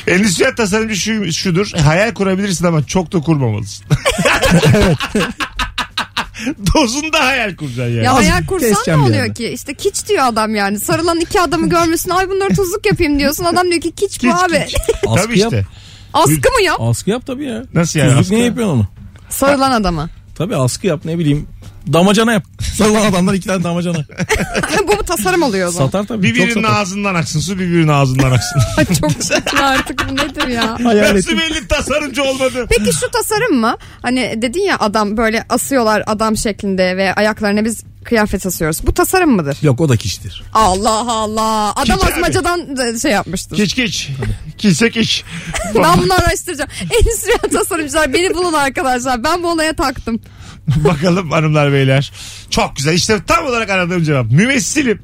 [SPEAKER 2] Endüstriyel tasarımcı şu, şudur. Hayal kurabilirsin ama çok da kurmamalısın. (laughs) Dozunda hayal kuracaksın yani.
[SPEAKER 3] Ya
[SPEAKER 4] Az
[SPEAKER 3] hayal kursan ne
[SPEAKER 4] keseceğim bir
[SPEAKER 3] oluyor
[SPEAKER 4] yerden.
[SPEAKER 3] ki? İşte kiç diyor adam yani. Sarılan iki adamı görmüşsün. Ay bunları tuzluk yapayım diyorsun. Adam diyor ki kiç bu
[SPEAKER 2] Kiç,
[SPEAKER 3] abi.
[SPEAKER 2] kiç.
[SPEAKER 4] Askı
[SPEAKER 2] Tabii işte.
[SPEAKER 4] yap.
[SPEAKER 3] Askı mı yap?
[SPEAKER 4] Askı yap tabii ya.
[SPEAKER 2] Nasıl yani?
[SPEAKER 4] Tuzluk
[SPEAKER 2] Askı?
[SPEAKER 4] niye yapıyorsun onu?
[SPEAKER 3] Sarılan adamı. (laughs)
[SPEAKER 4] Tabii askı yap ne bileyim. Damacana yap. Sarılan adamlar iki
[SPEAKER 2] (laughs)
[SPEAKER 4] tane damacana.
[SPEAKER 3] bu tasarım oluyor o zaman.
[SPEAKER 4] Satar tabii.
[SPEAKER 2] Bir
[SPEAKER 4] çok
[SPEAKER 2] birinin
[SPEAKER 4] satar.
[SPEAKER 2] ağzından aksın su bir birinin ağzından aksın.
[SPEAKER 3] Ay (laughs) çok çirkin artık bu nedir ya?
[SPEAKER 4] Hayal
[SPEAKER 2] Nasıl
[SPEAKER 4] ettim.
[SPEAKER 2] belli tasarımcı olmadı?
[SPEAKER 3] Peki şu tasarım mı? Hani dedin ya adam böyle asıyorlar adam şeklinde ve ayaklarına biz kıyafet asıyoruz. Bu tasarım mıdır?
[SPEAKER 4] Yok o da kişidir.
[SPEAKER 2] (laughs)
[SPEAKER 3] Allah Allah. Adam
[SPEAKER 2] Kiç abi.
[SPEAKER 3] asmacadan da şey yapmıştır.
[SPEAKER 2] Kiç kiç. Kilse kiç.
[SPEAKER 3] Ben bunu araştıracağım. (laughs) Endüstriyel tasarımcılar beni bulun arkadaşlar. Ben bu olaya taktım.
[SPEAKER 2] (laughs) Bakalım hanımlar beyler. Çok güzel. İşte tam olarak aradığım cevap. Mümessilim.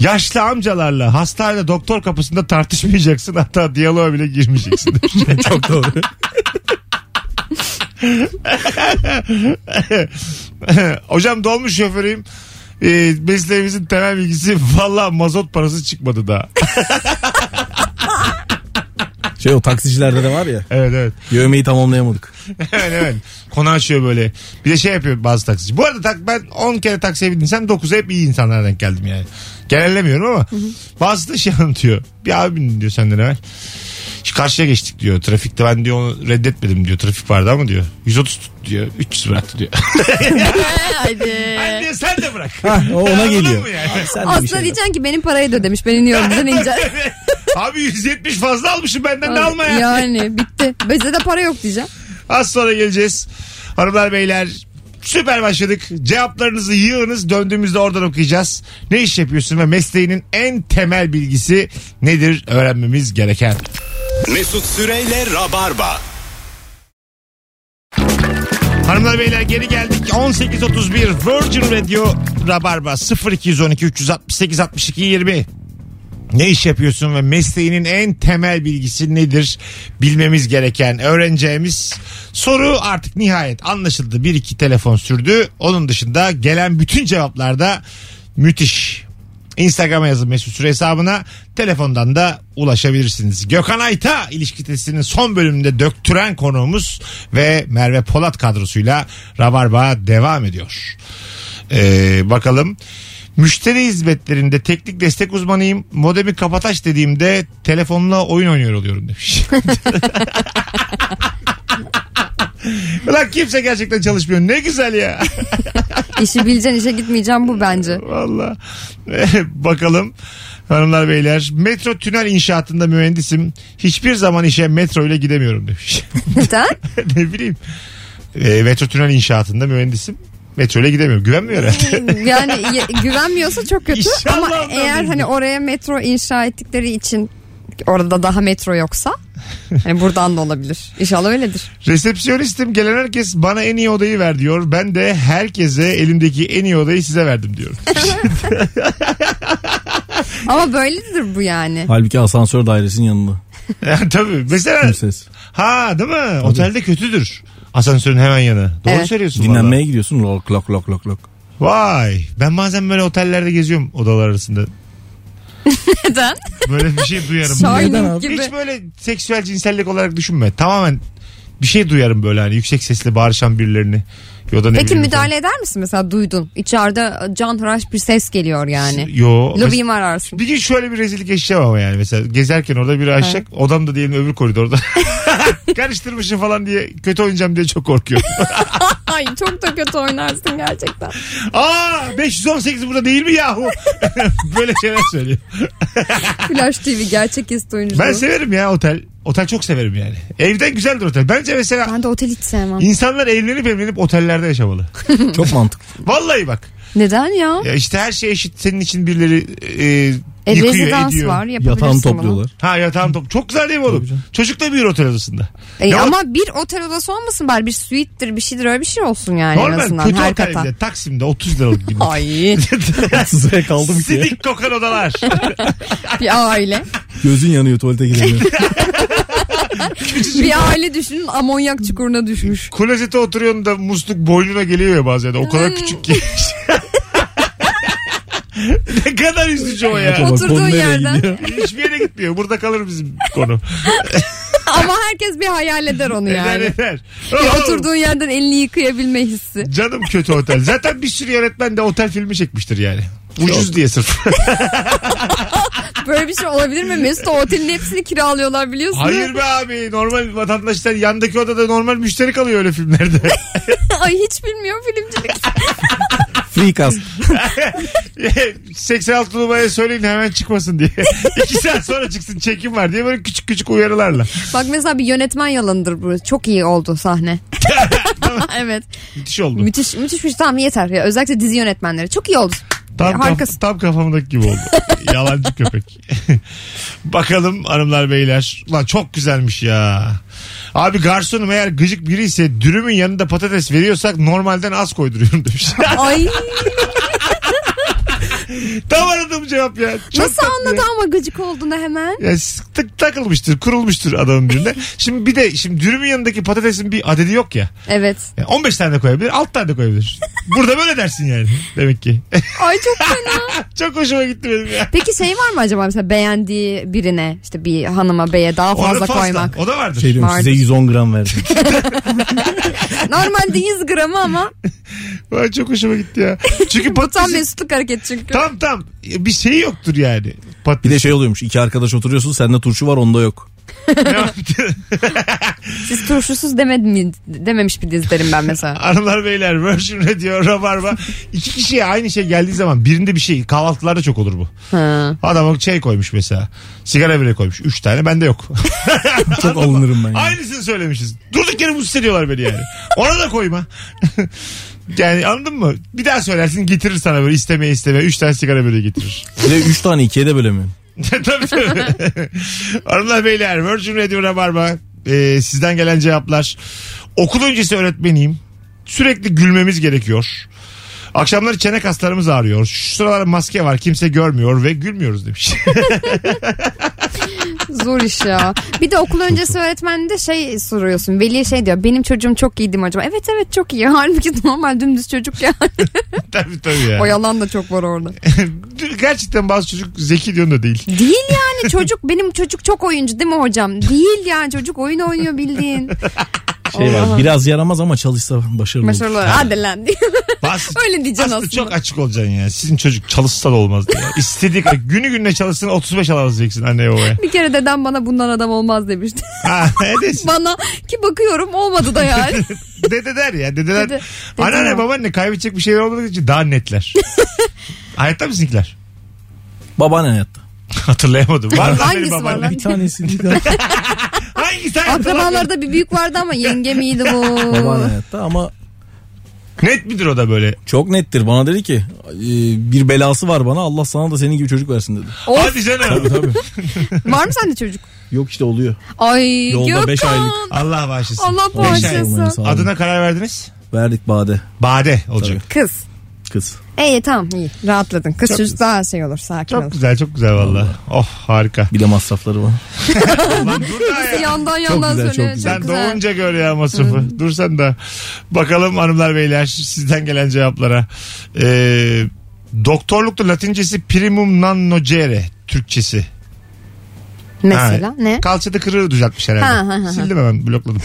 [SPEAKER 2] Yaşlı amcalarla hastanede doktor kapısında tartışmayacaksın (laughs) hatta diyaloğa bile girmeyeceksin. (laughs)
[SPEAKER 4] Çok doğru.
[SPEAKER 2] Hocam dolmuş şoförüyüm. Ee, mesleğimizin temel bilgisi valla mazot parası çıkmadı daha.
[SPEAKER 4] (laughs) Şey o taksicilerde de var ya.
[SPEAKER 2] evet evet.
[SPEAKER 4] Yövmeyi tamamlayamadık.
[SPEAKER 2] (laughs) Evet evet. Konu açıyor böyle. Bir de şey yapıyor bazı taksici. Bu arada tak, ben 10 kere taksiye bindiysem 9'a hep iyi insanlara denk geldim yani. Genellemiyorum ama bazı da şey (laughs) anlatıyor. Bir abi bindi diyor senden evvel. Şu karşıya geçtik diyor. Trafikte ben diyor onu reddetmedim diyor. Trafik vardı ama diyor. 130 tut diyor. 300 bıraktı
[SPEAKER 4] (laughs)
[SPEAKER 2] diyor.
[SPEAKER 3] Ee, Haydi.
[SPEAKER 2] ben diyor sen de bırak.
[SPEAKER 4] Ha, o ona
[SPEAKER 2] Anladın
[SPEAKER 4] geliyor.
[SPEAKER 2] mı yani?
[SPEAKER 4] Ha, sen de bir
[SPEAKER 3] Aslında
[SPEAKER 4] şey yap.
[SPEAKER 3] diyeceksin ki benim parayı da ödemiş. Ben iniyorum bizden
[SPEAKER 4] (laughs)
[SPEAKER 3] ineceğim.
[SPEAKER 2] (laughs) Abi 170 fazla almışım benden de alma ya.
[SPEAKER 3] Yani bitti. Bizde de para yok diyeceğim.
[SPEAKER 2] Az sonra geleceğiz. Hanımlar beyler süper başladık. Cevaplarınızı yığınız döndüğümüzde oradan okuyacağız. Ne iş yapıyorsun ve mesleğinin en temel bilgisi nedir öğrenmemiz gereken.
[SPEAKER 1] Mesut Süreyle Rabarba.
[SPEAKER 2] Hanımlar beyler geri geldik. 18.31 Virgin Radio Rabarba 0212 368 62 20. Ne iş yapıyorsun ve mesleğinin en temel bilgisi nedir? Bilmemiz gereken, öğreneceğimiz soru artık nihayet anlaşıldı. Bir iki telefon sürdü. Onun dışında gelen bütün cevaplarda müthiş. Instagram'a yazın Mesut Süre hesabına. Telefondan da ulaşabilirsiniz. Gökhan Ayta ilişki testinin son bölümünde döktüren konuğumuz ve Merve Polat kadrosuyla Rabarba devam ediyor. Ee, bakalım. Müşteri hizmetlerinde teknik destek uzmanıyım. Modemi kapataş dediğimde telefonla oyun oynuyor oluyorum demiş. (laughs) Ulan kimse gerçekten çalışmıyor. Ne güzel ya. (laughs)
[SPEAKER 3] İşi bileceksin işe gitmeyeceğim bu
[SPEAKER 4] (laughs)
[SPEAKER 3] bence.
[SPEAKER 2] Valla. (laughs) Bakalım hanımlar beyler. Metro tünel inşaatında mühendisim. Hiçbir zaman işe metro ile gidemiyorum demiş. (laughs)
[SPEAKER 3] Neden?
[SPEAKER 2] ne bileyim. E, metro tünel inşaatında mühendisim. Metro ile gidemiyorum. Güvenmiyor herhalde.
[SPEAKER 3] Yani ye- güvenmiyorsa çok kötü.
[SPEAKER 2] İnşallah
[SPEAKER 3] Ama
[SPEAKER 2] anlamıyorum.
[SPEAKER 3] eğer hani oraya metro inşa ettikleri için orada daha
[SPEAKER 2] (laughs)
[SPEAKER 3] metro yoksa hani buradan da olabilir. İnşallah öyledir.
[SPEAKER 2] Resepsiyonistim gelen herkes bana en iyi odayı ver diyor. Ben de herkese elimdeki en iyi odayı size verdim
[SPEAKER 3] (laughs)
[SPEAKER 2] diyorum.
[SPEAKER 3] Ama böyledir bu yani.
[SPEAKER 4] Halbuki asansör dairesinin yanında.
[SPEAKER 2] Yani Tabii. Mesela
[SPEAKER 4] Kimses.
[SPEAKER 2] ha değil mi? Otelde kötüdür. Asansörün hemen yanı. Doğru
[SPEAKER 3] Evet.
[SPEAKER 2] söylüyorsun.
[SPEAKER 4] (laughs) Dinlenmeye gidiyorsun. Lok lok lok lok lok.
[SPEAKER 2] valla. Vay. Ben bazen böyle otellerde geziyorum odalar arasında.
[SPEAKER 3] Neden?
[SPEAKER 2] Böyle bir şey
[SPEAKER 3] (laughs)
[SPEAKER 2] duyarım.
[SPEAKER 4] Neden
[SPEAKER 3] Shining
[SPEAKER 4] abi?
[SPEAKER 3] gibi.
[SPEAKER 2] Hiç böyle seksüel cinsellik olarak düşünme. Tamamen bir şey duyarım böyle hani yüksek sesle bağırışan birilerini. Ya da ne
[SPEAKER 3] Peki
[SPEAKER 2] bileyim
[SPEAKER 3] müdahale eder misin mesela duydun? İçeride canhıraş bir ses geliyor
[SPEAKER 2] falan.
[SPEAKER 3] yani.
[SPEAKER 2] Yo.
[SPEAKER 3] Lobiyi
[SPEAKER 2] (laughs)
[SPEAKER 3] mi ararsın?
[SPEAKER 2] Bir gün şöyle bir rezillik yaşayacağım ama yani mesela gezerken orada biri açacak odam da diyelim öbür
[SPEAKER 3] (laughs)
[SPEAKER 2] koridorda. (laughs) Karıştırmışım falan diye kötü oynayacağım diye çok
[SPEAKER 3] (laughs)
[SPEAKER 2] korkuyorum.
[SPEAKER 3] Ay çok da kötü oynarsın gerçekten.
[SPEAKER 2] Aa 518 burada değil mi yahu? (laughs) böyle şeyler söylüyor.
[SPEAKER 3] Flash TV gerçek eski oyuncu.
[SPEAKER 2] Ben severim ya otel. Otel çok severim yani. Evden güzeldir otel. Bence mesela
[SPEAKER 3] Ben de otel hiç sevmem.
[SPEAKER 2] insanlar evlenip evlenip otellerde yaşamalı.
[SPEAKER 4] Çok mantıklı.
[SPEAKER 2] Vallahi bak.
[SPEAKER 3] Neden ya?
[SPEAKER 2] Ya işte her şey eşit. Senin için birileri e,
[SPEAKER 3] E,
[SPEAKER 2] yıkıyor,
[SPEAKER 3] rezidans
[SPEAKER 2] ediyor.
[SPEAKER 3] var yapabilirsin
[SPEAKER 4] Yatağını
[SPEAKER 3] bunu.
[SPEAKER 4] (laughs) topluyorlar.
[SPEAKER 2] Ha yatağın top. Çok güzel değil mi
[SPEAKER 4] Tabii
[SPEAKER 2] oğlum?
[SPEAKER 4] canım.
[SPEAKER 2] Çocuk da büyür otel odasında.
[SPEAKER 3] E,
[SPEAKER 2] Ne
[SPEAKER 3] ama bir otel odası olmasın bari bir suite'tir bir şeydir öyle bir şey olsun yani en
[SPEAKER 2] Normal
[SPEAKER 3] azından
[SPEAKER 2] kötü
[SPEAKER 3] her
[SPEAKER 2] otel
[SPEAKER 3] kata.
[SPEAKER 2] bile. Taksim'de 30 liralık
[SPEAKER 3] (laughs)
[SPEAKER 2] bir
[SPEAKER 3] Ay
[SPEAKER 2] (laughs)
[SPEAKER 4] Sıraya kaldım ki.
[SPEAKER 2] Sidik kokan odalar.
[SPEAKER 3] bir
[SPEAKER 2] (laughs)
[SPEAKER 3] aile.
[SPEAKER 4] Gözün yanıyor tuvalete giremiyor. (laughs)
[SPEAKER 2] şey
[SPEAKER 3] bir aile düşünün amonyak çukuruna düşmüş.
[SPEAKER 2] Klozete oturuyorsun da musluk boynuna geliyor ya bazen de. O kadar küçük ki. (laughs) ne kadar üzücü o ya.
[SPEAKER 4] Bak,
[SPEAKER 3] Oturduğun
[SPEAKER 4] konu nereye
[SPEAKER 3] yerden.
[SPEAKER 4] gidiyor?
[SPEAKER 2] Hiçbir yere gitmiyor. Burada kalır bizim konu.
[SPEAKER 3] (laughs) Ama herkes bir hayal eder onu
[SPEAKER 2] Eder
[SPEAKER 3] yani.
[SPEAKER 2] eder.
[SPEAKER 3] Bir
[SPEAKER 2] Oğlum,
[SPEAKER 3] oturduğun yerden elini yıkayabilme hissi.
[SPEAKER 2] Canım kötü otel. Zaten bir sürü yönetmen de otel filmi çekmiştir yani. Ucuz diye sırf.
[SPEAKER 3] Böyle bir şey olabilir mi? Mesut o otelin hepsini kiralıyorlar biliyorsun.
[SPEAKER 2] Hayır be abi. Normal vatandaşlar yandaki odada normal müşteri kalıyor öyle filmlerde.
[SPEAKER 3] (laughs) Ay hiç bilmiyor filmcilik.
[SPEAKER 4] Free cast.
[SPEAKER 2] (laughs) 86 numaraya söyleyin hemen çıkmasın diye. (laughs) İki saat sonra çıksın çekim var diye böyle küçük küçük uyarılarla.
[SPEAKER 3] Bak mesela bir yönetmen yalanıdır bu. Çok iyi
[SPEAKER 2] (laughs)
[SPEAKER 3] oldu sahne. (laughs) evet.
[SPEAKER 2] Müthiş oldu.
[SPEAKER 3] Müthiş müthiş müthiş tamam yeter. Ya, özellikle dizi yönetmenleri. Çok iyi oldu.
[SPEAKER 2] Tam, kaf-
[SPEAKER 3] Harikasın.
[SPEAKER 2] tam kafamdaki gibi
[SPEAKER 3] (laughs)
[SPEAKER 2] oldu. Yalancı köpek. (laughs) Bakalım hanımlar beyler. Ulan çok güzelmiş ya. Abi garsonum eğer gıcık biri ise dürümün yanında patates veriyorsak normalden az koyduruyorum
[SPEAKER 3] (laughs)
[SPEAKER 2] demiş.
[SPEAKER 3] Ay
[SPEAKER 2] tam aradığım cevap ya. Çok
[SPEAKER 3] nasıl
[SPEAKER 2] tatlı ya.
[SPEAKER 3] anladı ama gıcık olduğunu hemen.
[SPEAKER 2] Ya tık takılmıştır, kurulmuştur adamın birine. şimdi bir de şimdi dürümün yanındaki patatesin bir adedi yok ya.
[SPEAKER 3] Evet.
[SPEAKER 2] Yani 15 tane de koyabilir, 6 tane de koyabilir. Burada böyle dersin yani demek ki. (laughs)
[SPEAKER 3] Ay çok fena.
[SPEAKER 2] Çok hoşuma gitti benim ya.
[SPEAKER 3] Peki şey var mı acaba mesela beğendiği birine işte bir hanıma beye daha
[SPEAKER 2] Orada
[SPEAKER 3] fazla koymak.
[SPEAKER 2] O da vardır.
[SPEAKER 4] Şey diyorum size
[SPEAKER 3] Vardır.
[SPEAKER 4] 110 gram (laughs) verdim.
[SPEAKER 3] Normalde 100 gramı ama
[SPEAKER 2] (laughs) Vay, çok hoşuma gitti ya. Çünkü
[SPEAKER 3] (laughs) bu tam
[SPEAKER 2] patatesin...
[SPEAKER 3] mesutluk hareket çünkü.
[SPEAKER 2] Tam tam bir şey yoktur yani.
[SPEAKER 4] Bir
[SPEAKER 2] Patates.
[SPEAKER 4] de şey oluyormuş. iki arkadaş oturuyorsun sende turşu var onda yok.
[SPEAKER 3] Siz turşusuz demedim, dememiş bir dizlerim
[SPEAKER 2] (laughs)
[SPEAKER 3] ben
[SPEAKER 2] (laughs)
[SPEAKER 3] mesela.
[SPEAKER 2] Hanımlar beyler Virgin Radio Rabarba. İki kişiye aynı şey geldiği zaman birinde bir şey kahvaltılarda çok olur bu.
[SPEAKER 3] Ha.
[SPEAKER 2] Adam şey koymuş mesela. Sigara bile koymuş. Üç tane bende yok. (laughs)
[SPEAKER 4] Çok alınırım ben. yani.
[SPEAKER 2] Aynısını söylemişiz. Durduk yere mutsuz ediyorlar beni yani. Ona da koyma. (laughs) yani anladın mı? Bir daha söylersin getirir sana böyle istemeye istemeye. Üç tane sigara böyle getirir. (laughs)
[SPEAKER 4] Bir de 3 tane ikiye de bölemiyorum.
[SPEAKER 2] tabii tabii. (laughs) Hanımlar beyler Virgin Radio Rabarba. Ee, sizden gelen cevaplar. Okul öncesi öğretmeniyim. Sürekli gülmemiz gerekiyor. Akşamları çene kaslarımız ağrıyor. Şu sıralar maske var kimse görmüyor ve gülmüyoruz demiş. (laughs)
[SPEAKER 3] Zor iş ya. Bir de okul öncesi öğretmeninde şey soruyorsun. Veli şey diyor. Benim çocuğum çok iyi değil mi acaba? Evet evet çok iyi. (laughs) Halbuki normal dümdüz çocuk ya.
[SPEAKER 2] tabii tabii ya.
[SPEAKER 3] o yalan da çok var orada.
[SPEAKER 2] (laughs) Gerçekten bazı çocuk zeki diyorsun da
[SPEAKER 3] (laughs)
[SPEAKER 2] değil.
[SPEAKER 3] Değil yani çocuk. Benim çocuk çok oyuncu değil mi hocam? Değil yani çocuk oyun oynuyor
[SPEAKER 4] (laughs)
[SPEAKER 3] bildiğin.
[SPEAKER 4] Şey
[SPEAKER 3] Allah.
[SPEAKER 4] var. Biraz yaramaz ama çalışsa başarılı olur.
[SPEAKER 3] Başarılı. Hadi lan diye. (laughs)
[SPEAKER 2] Bazı
[SPEAKER 3] Öyle diyeceksin
[SPEAKER 2] Aslında,
[SPEAKER 3] aslında.
[SPEAKER 2] çok açık olacaksın ya. Sizin çocuk çalışsa da olmaz diye. İstediği kadar- günü gününe çalışsın 35 alabileceksin anneye babaya.
[SPEAKER 3] Bir kere dedem bana bundan adam olmaz demişti. (laughs)
[SPEAKER 2] Ha, ne desin?
[SPEAKER 3] bana ki bakıyorum olmadı da
[SPEAKER 4] (laughs)
[SPEAKER 3] yani.
[SPEAKER 2] Dede der ya. Dedeler.
[SPEAKER 3] Dede- dede
[SPEAKER 2] anneanne
[SPEAKER 3] var.
[SPEAKER 2] babaanne kaybedecek bir şey olmadığı için daha
[SPEAKER 3] (laughs)
[SPEAKER 2] netler. Hayatta mı sizinkiler? (laughs)
[SPEAKER 4] Babaanne hayatta.
[SPEAKER 2] Hatırlayamadım. Var mı
[SPEAKER 3] Hangisi
[SPEAKER 2] benim babaannem?
[SPEAKER 3] var lan?
[SPEAKER 4] Bir tanesi. bir (laughs) tane-
[SPEAKER 2] Hangisi hayatta lan?
[SPEAKER 3] (laughs) Akrabalarda bir büyük vardı ama yengem iyiydi bu.
[SPEAKER 4] Babaanne hayatta ama
[SPEAKER 2] Net midir o da böyle?
[SPEAKER 4] çok nettir. Bana dedi ki e, bir belası var bana Allah sana da senin gibi çocuk versin dedi.
[SPEAKER 3] Of,
[SPEAKER 2] Hadi canım.
[SPEAKER 4] Tabii.
[SPEAKER 3] var mı sende çocuk?
[SPEAKER 4] Yok işte oluyor.
[SPEAKER 3] Ay
[SPEAKER 4] Yolda beş
[SPEAKER 3] Gökhan.
[SPEAKER 4] aylık.
[SPEAKER 2] Allah bağışlasın.
[SPEAKER 3] Allah
[SPEAKER 4] Beş ay olmayı
[SPEAKER 3] bağışlasın.
[SPEAKER 4] sağ olun.
[SPEAKER 2] Adına karar verdiniz?
[SPEAKER 4] Verdik Bade.
[SPEAKER 2] Bade olacak.
[SPEAKER 3] Kız.
[SPEAKER 4] kız.
[SPEAKER 3] İyi tamam iyi. Rahatladın. Kız çocuk daha şey olur sakin
[SPEAKER 2] Çok
[SPEAKER 3] olur.
[SPEAKER 2] güzel çok güzel valla. Oh harika.
[SPEAKER 4] Bir de masrafları var.
[SPEAKER 2] Lan dur da ya.
[SPEAKER 3] Yandan yandan
[SPEAKER 4] güzel, çok
[SPEAKER 3] söylüyor.
[SPEAKER 4] güzel.
[SPEAKER 2] Sen doğunca gör ya masrafı. Dursan da. Bakalım hanımlar beyler sizden gelen cevaplara. Ee, doktorlukta latincesi primum non nocere. Türkçesi.
[SPEAKER 3] Mesela
[SPEAKER 2] Ha,
[SPEAKER 3] ne?
[SPEAKER 2] Kalçada kırığı düzeltmiş herhalde.
[SPEAKER 3] Ha, ha, ha, ha.
[SPEAKER 2] Sildim hemen
[SPEAKER 3] (laughs)
[SPEAKER 2] blokladım.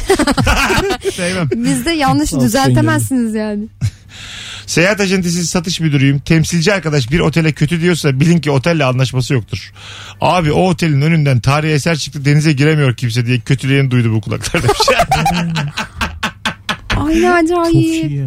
[SPEAKER 2] Sevmem.
[SPEAKER 3] Bizde yanlışı
[SPEAKER 4] Altı
[SPEAKER 3] düzeltemezsiniz yani.
[SPEAKER 2] Seyahat acentesi satış müdürüyüm. Temsilci arkadaş bir otele kötü diyorsa bilin ki otelle anlaşması yoktur. Abi o otelin önünden tarihi eser çıktı denize giremiyor kimse diye kötülüğünü duydu bu kulaklar demiş. (laughs)
[SPEAKER 3] Ay ne
[SPEAKER 4] Çok iyi
[SPEAKER 3] acayip.
[SPEAKER 4] ya.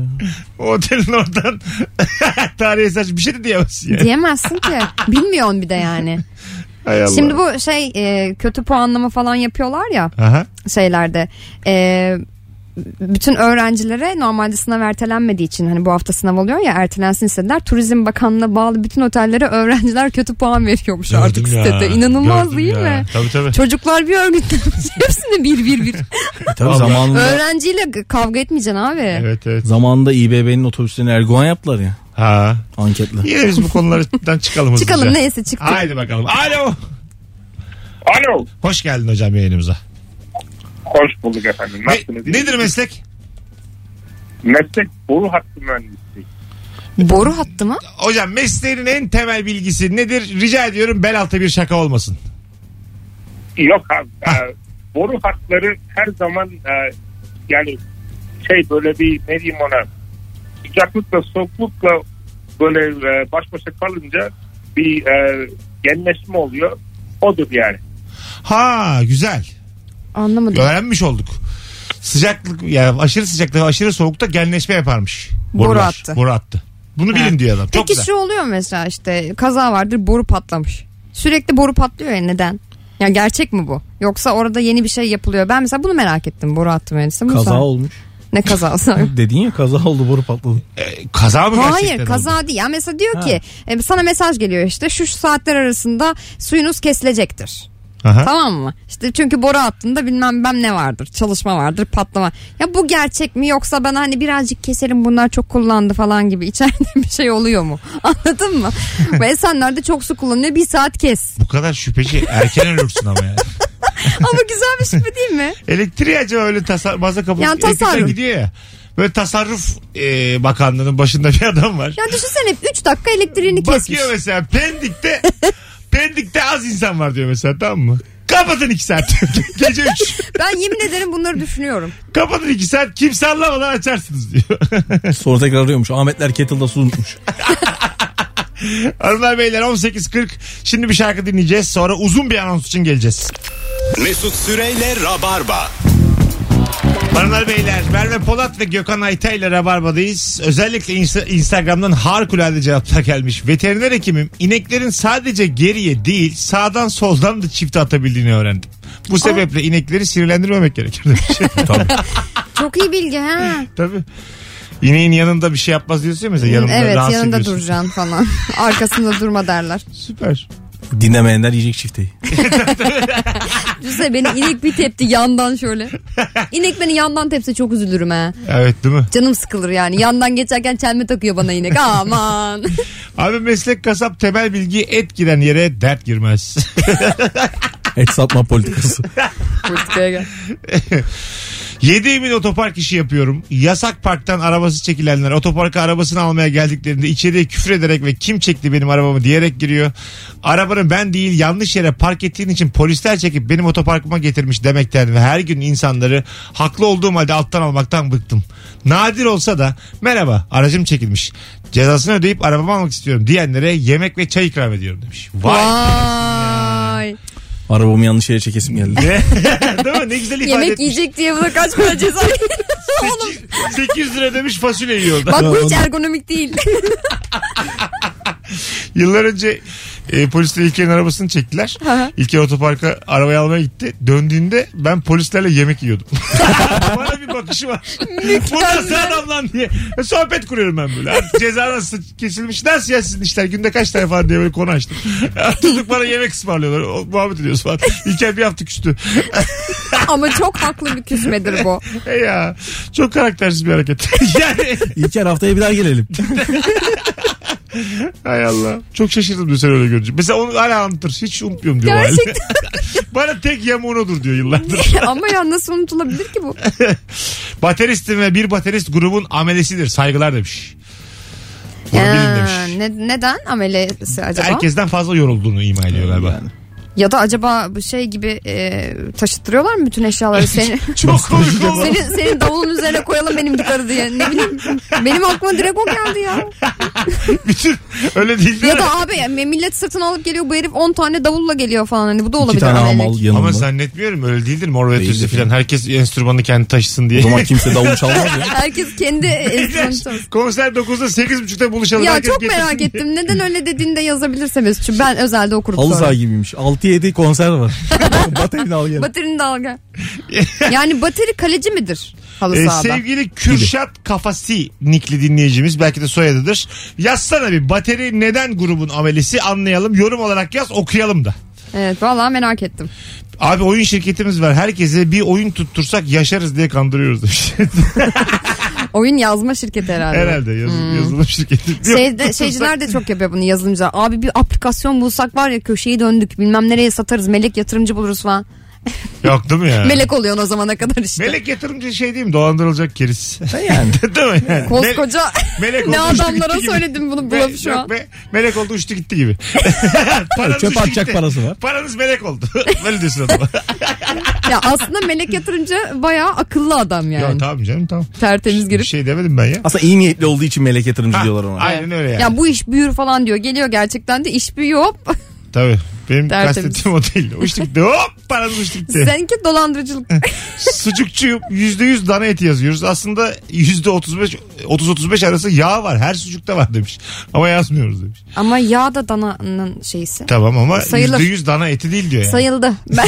[SPEAKER 2] o otelin oradan (laughs) tarihi eser bir şey de diyemezsin yani.
[SPEAKER 3] Diyemezsin ki. Bilmiyorsun bir de yani.
[SPEAKER 2] (laughs) Hay Allah.
[SPEAKER 3] Şimdi bu şey e, kötü puanlama falan yapıyorlar ya
[SPEAKER 2] Aha.
[SPEAKER 3] şeylerde. E, bütün öğrencilere normalde sınav ertelenmediği için hani bu hafta sınav oluyor ya ertelensin istediler. Turizm Bakanlığı'na bağlı bütün otellere öğrenciler kötü puan veriyormuş artık
[SPEAKER 2] Gördüm ya.
[SPEAKER 3] sitede. İnanılmaz
[SPEAKER 2] Gördüm
[SPEAKER 3] değil
[SPEAKER 2] ya.
[SPEAKER 3] mi?
[SPEAKER 2] Tabii tabii.
[SPEAKER 3] Çocuklar bir örgütlenmiş. (laughs) Hepsini bir bir bir.
[SPEAKER 4] Tabii
[SPEAKER 2] Vallahi.
[SPEAKER 4] zamanında,
[SPEAKER 3] Öğrenciyle kavga etmeyeceksin abi.
[SPEAKER 2] Evet evet.
[SPEAKER 4] zamanında İBB'nin otobüslerini Erdoğan yaptılar ya.
[SPEAKER 2] Ha.
[SPEAKER 4] Anketle.
[SPEAKER 2] Yine biz bu konulardan çıkalım hızlıca.
[SPEAKER 3] Çıkalım neyse çıktık.
[SPEAKER 2] Haydi bakalım. Alo.
[SPEAKER 5] (laughs) Alo.
[SPEAKER 2] Hoş geldin hocam yayınımıza.
[SPEAKER 5] Hoş bulduk efendim.
[SPEAKER 2] Ne, nedir meslek?
[SPEAKER 5] Meslek boru hattı mühendisliği.
[SPEAKER 3] Boru hattı mı?
[SPEAKER 2] Hocam mesleğinin en temel bilgisi nedir? Rica ediyorum bel altı bir şaka olmasın.
[SPEAKER 5] Yok abi. e, boru hatları her zaman e, yani şey böyle bir ne diyeyim ona sıcaklıkla soğuklukla böyle e, baş başa kalınca bir e, genleşme oluyor. Odur yani.
[SPEAKER 2] Ha güzel.
[SPEAKER 3] Anlamadım.
[SPEAKER 2] Öğrenmiş olduk. Sıcaklık yani aşırı sıcakta ve aşırı soğukta genleşme yaparmış.
[SPEAKER 3] Boru
[SPEAKER 2] Borular.
[SPEAKER 3] attı.
[SPEAKER 2] Boru attı. Bunu bilin diyor adam. Çok
[SPEAKER 3] Peki
[SPEAKER 2] güzel.
[SPEAKER 3] şu oluyor mesela işte kaza vardır boru patlamış. Sürekli boru patlıyor ya neden? Ya gerçek mi bu? Yoksa orada yeni bir şey yapılıyor. Ben mesela bunu merak ettim. Boru attı mühendisi. Bunu
[SPEAKER 4] Kaza
[SPEAKER 3] sor-
[SPEAKER 4] olmuş.
[SPEAKER 3] Ne kazası?
[SPEAKER 4] Dedin ya kaza oldu boru patladı.
[SPEAKER 2] Ee, kaza mı gerçekten
[SPEAKER 3] Hayır kaza
[SPEAKER 2] oldu?
[SPEAKER 3] değil. Ya mesela diyor
[SPEAKER 4] Ha.
[SPEAKER 3] ki e, sana mesaj geliyor işte şu, şu saatler arasında suyunuz kesilecektir.
[SPEAKER 2] Aha.
[SPEAKER 3] Tamam mı? İşte çünkü boru hattında bilmem ben ne vardır. Çalışma vardır, patlama. Ya bu gerçek mi yoksa ben hani birazcık keselim bunlar çok kullandı falan gibi (laughs) içeride bir şey oluyor mu? (laughs) Anladın mı? Bu Esenler'de çok su kullanıyor. Bir saat kes.
[SPEAKER 2] (laughs) Bu kadar şüpheci erken ölürsün ama yani.
[SPEAKER 3] Ama güzel bir şüphe değil mi?
[SPEAKER 2] Elektriği acaba öyle tasar baza kapalı.
[SPEAKER 3] Yani
[SPEAKER 2] Elektrikler
[SPEAKER 3] tasarruf.
[SPEAKER 2] gidiyor ya. Böyle tasarruf e, bakanlığının başında bir adam var.
[SPEAKER 3] Ya düşünsene 3 dakika elektriğini kesmiş.
[SPEAKER 2] Bakıyor mesela
[SPEAKER 3] (laughs)
[SPEAKER 2] Pendik'te Pendik'te az insan var diyor mesela tamam mı? Kapatın iki saat. (laughs) Gece üç.
[SPEAKER 3] Ben yemin ederim bunları düşünüyorum.
[SPEAKER 2] Kapatın iki saat. Kimse anlamadan açarsınız diyor. (laughs)
[SPEAKER 4] Sonra tekrar arıyormuş. Ahmetler kettle'da su unutmuş.
[SPEAKER 2] Hanımlar beyler 18.40. Şimdi bir şarkı dinleyeceğiz. Sonra uzun bir anons için geleceğiz.
[SPEAKER 1] Mesut Süreyle Rabarba.
[SPEAKER 2] Hanımlar beyler Merve Polat ve Gökhan Ayta ile Rabarba'dayız. Özellikle insta- Instagram'dan harikulade cevaplar gelmiş. Veteriner hekimim ineklerin sadece geriye değil sağdan soldan da çifte atabildiğini öğrendim. Bu sebeple inekleri sinirlendirmemek gerekir
[SPEAKER 3] (laughs)
[SPEAKER 2] demiş.
[SPEAKER 3] Çok iyi bilgi ha.
[SPEAKER 2] Tabii. İneğin yanında bir şey yapmaz diyorsun ya mesela yanında
[SPEAKER 3] evet
[SPEAKER 2] rahatsız
[SPEAKER 3] yanında
[SPEAKER 2] ediyorsun.
[SPEAKER 3] duracaksın falan. (laughs) Arkasında durma derler.
[SPEAKER 2] Süper.
[SPEAKER 4] Dinlemeyenler yiyecek çifteyi.
[SPEAKER 3] Düşünsene beni inek bir tepti yandan şöyle. İnek beni yandan tepse çok üzülürüm ha.
[SPEAKER 2] Evet değil mi?
[SPEAKER 3] Canım sıkılır yani. Yandan geçerken çelme takıyor bana inek. Aman.
[SPEAKER 2] Abi meslek kasap temel bilgi et giren yere dert girmez.
[SPEAKER 4] Et satma politikası.
[SPEAKER 3] Politikaya gel.
[SPEAKER 2] Yediğimin otopark işi yapıyorum. Yasak parktan arabası çekilenler otoparka arabasını almaya geldiklerinde içeriye küfür ederek ve kim çekti benim arabamı diyerek giriyor. Arabanın ben değil yanlış yere park ettiğin için polisler çekip benim otoparkıma getirmiş demekten ve her gün insanları haklı olduğum halde alttan almaktan bıktım. Nadir olsa da merhaba aracım çekilmiş. Cezasını ödeyip arabamı almak istiyorum diyenlere yemek ve çay ikram ediyorum demiş. Vay.
[SPEAKER 3] Vay.
[SPEAKER 4] Arabamı yanlış yere çekesim geldi.
[SPEAKER 2] (laughs) Değil mi? Ne güzel ifade
[SPEAKER 3] Yemek
[SPEAKER 2] etmiş.
[SPEAKER 3] yiyecek diye buna kaç para ceza
[SPEAKER 2] (laughs)
[SPEAKER 3] Oğlum
[SPEAKER 2] 800 lira demiş fasulye yiyor.
[SPEAKER 3] bak bu hiç ergonomik değil.
[SPEAKER 2] Yıllar önce E, polisler İlker'in arabasını çektiler.
[SPEAKER 3] hı.
[SPEAKER 2] İlker otoparka arabayı almaya gitti. Döndüğünde ben polislerle yemek
[SPEAKER 3] (laughs)
[SPEAKER 2] yiyordum. Bana bir bakışı var. Bu nasıl adam lan diye. E, Sohbet kuruyorum ben böyle. Artık ceza nasıl kesilmiş? Nasıl ya sizin işler? Günde kaç tane falan diye böyle konu açtım. Tutup bana yemek ısmarlıyorlar. O, muhabbet ediyoruz falan. İlker bir hafta küstü.
[SPEAKER 3] (laughs) Ama çok haklı bir küsmedir bu. (laughs)
[SPEAKER 2] E ya çok karaktersiz bir hareket. (laughs) yani
[SPEAKER 4] İlker haftaya bir daha gelelim.
[SPEAKER 2] hay Allah. Çok şaşırdım dün sen öyle görünce. Mesela onu hala anlatır. Hiç unutmuyorum diyor. o halde. (laughs)
[SPEAKER 3] Gerçekten.
[SPEAKER 2] Bana tek yamuğun odur diyor yıllardır.
[SPEAKER 3] Ama ya nasıl unutulabilir ki bu?
[SPEAKER 2] Bateristim ve bir baterist grubun amelesidir. Saygılar demiş. Bunu bilin
[SPEAKER 3] Ya,
[SPEAKER 2] demiş.
[SPEAKER 3] ne, neden amelesi acaba?
[SPEAKER 2] Herkesten fazla yorulduğunu ima ediyor galiba.
[SPEAKER 3] Ya da acaba bu şey gibi e, taşıttırıyorlar mı bütün
[SPEAKER 2] (laughs)
[SPEAKER 3] eşyaları seni?
[SPEAKER 2] Çok (laughs) komik oldu.
[SPEAKER 3] senin, senin davulun üzerine koyalım benim gitarı diye. Ne bileyim benim aklıma direkt o geldi ya.
[SPEAKER 2] Bütün öyle değil değil
[SPEAKER 3] Ya
[SPEAKER 2] mi?
[SPEAKER 3] da abi ya millet sırtına alıp geliyor bu herif 10 tane davulla geliyor falan hani bu da
[SPEAKER 4] İki
[SPEAKER 3] olabilir.
[SPEAKER 4] tane
[SPEAKER 3] amelelik.
[SPEAKER 4] hamal yanında.
[SPEAKER 2] Ama zannetmiyorum öyle değildir mor ve
[SPEAKER 4] Değildir
[SPEAKER 2] ötesi
[SPEAKER 4] yani.
[SPEAKER 2] filan. Herkes enstrümanı kendi taşısın diye.
[SPEAKER 4] O zaman kimse davul çalmaz ya.
[SPEAKER 3] Herkes kendi enstrümanı
[SPEAKER 2] (laughs) Konser 9'da 8.30'da buluşalım.
[SPEAKER 3] Ya
[SPEAKER 2] Herkes
[SPEAKER 3] çok merak
[SPEAKER 2] getirsin.
[SPEAKER 3] ettim. Neden öyle dediğini de yazabilirse Mesut'cum. Ben özelde okurum
[SPEAKER 4] Halı saha
[SPEAKER 3] sonra.
[SPEAKER 4] gibiymiş. 6-7
[SPEAKER 2] (laughs)
[SPEAKER 4] konser var. Batayı da al gel.
[SPEAKER 3] Baterinin dalga. yani bateri kaleci midir halı
[SPEAKER 2] Ee,
[SPEAKER 3] sahada?
[SPEAKER 2] sevgili Kürşat Kafasi nikli dinleyicimiz belki de soyadıdır. Yazsana bir bateri neden grubun amelesi anlayalım. Yorum olarak yaz okuyalım da.
[SPEAKER 3] Evet vallahi merak ettim.
[SPEAKER 2] Abi oyun şirketimiz var. Herkese bir oyun tuttursak yaşarız diye kandırıyoruz demiş. (laughs)
[SPEAKER 3] Oyun yazma şirketi herhalde.
[SPEAKER 2] Herhalde yazı-
[SPEAKER 3] Hmm.
[SPEAKER 2] yazılım şirketi. Bir oyun
[SPEAKER 3] Şeyde,
[SPEAKER 2] tuttursak-
[SPEAKER 3] şeyciler de çok yapıyor bunu yazılımcılar. Abi bir aplikasyon bulsak var ya köşeyi döndük bilmem nereye satarız melek yatırımcı buluruz falan.
[SPEAKER 2] Yok değil mi ya? Melek.
[SPEAKER 3] Melek oluyorsun o zamana kadar işte.
[SPEAKER 2] yatırımcı şey değil mi? Dolandırılacak keriz.
[SPEAKER 4] Yani.
[SPEAKER 2] (laughs) değil mi yani? Me-
[SPEAKER 3] Koskoca
[SPEAKER 2] melek
[SPEAKER 3] ne
[SPEAKER 2] oldu, uçtu
[SPEAKER 3] adamlara
[SPEAKER 2] gitti gibi.
[SPEAKER 3] söyledim bunu bu
[SPEAKER 2] Me-
[SPEAKER 3] lafı şu
[SPEAKER 2] yok
[SPEAKER 3] an.
[SPEAKER 2] be, melek oldu uçtu gitti
[SPEAKER 3] (laughs)
[SPEAKER 2] gibi. Paranız
[SPEAKER 4] Çöp
[SPEAKER 2] uçtu
[SPEAKER 4] atacak
[SPEAKER 2] gitti.
[SPEAKER 4] parası var.
[SPEAKER 2] Paranız melek oldu. (laughs) Böyle diyorsun
[SPEAKER 3] (laughs)
[SPEAKER 2] adama.
[SPEAKER 3] Ya aslında melek yatırımcı bayağı akıllı adam yani.
[SPEAKER 2] Ya tamam canım tamam.
[SPEAKER 3] Tertemiz
[SPEAKER 2] Bir
[SPEAKER 3] girip.
[SPEAKER 2] şey demedim ben ya.
[SPEAKER 4] Aslında iyi niyetli olduğu için melek yatırımcı
[SPEAKER 2] Ha,
[SPEAKER 4] diyorlar ona.
[SPEAKER 2] Aynen öyle yani.
[SPEAKER 3] Ya bu iş büyür falan diyor. Geliyor gerçekten de iş büyüyor. (laughs) Hop.
[SPEAKER 2] Tabii. Benim
[SPEAKER 3] Tertemiz.
[SPEAKER 2] kastettiğim o değil. Uçtu gitti. Hop paranız uçtu gitti.
[SPEAKER 3] Seninki dolandırıcılık.
[SPEAKER 2] Sucukçuyum. %100 dana eti yazıyoruz. Aslında %35 30-35 arası yağ var. Her sucukta var demiş. Ama yazmıyoruz demiş.
[SPEAKER 3] Ama yağ da dananın şeysi.
[SPEAKER 2] Tamam ama
[SPEAKER 3] Sayılır.
[SPEAKER 2] %100 dana eti değil diyor yani. (laughs)
[SPEAKER 3] Sayıldı. Ben...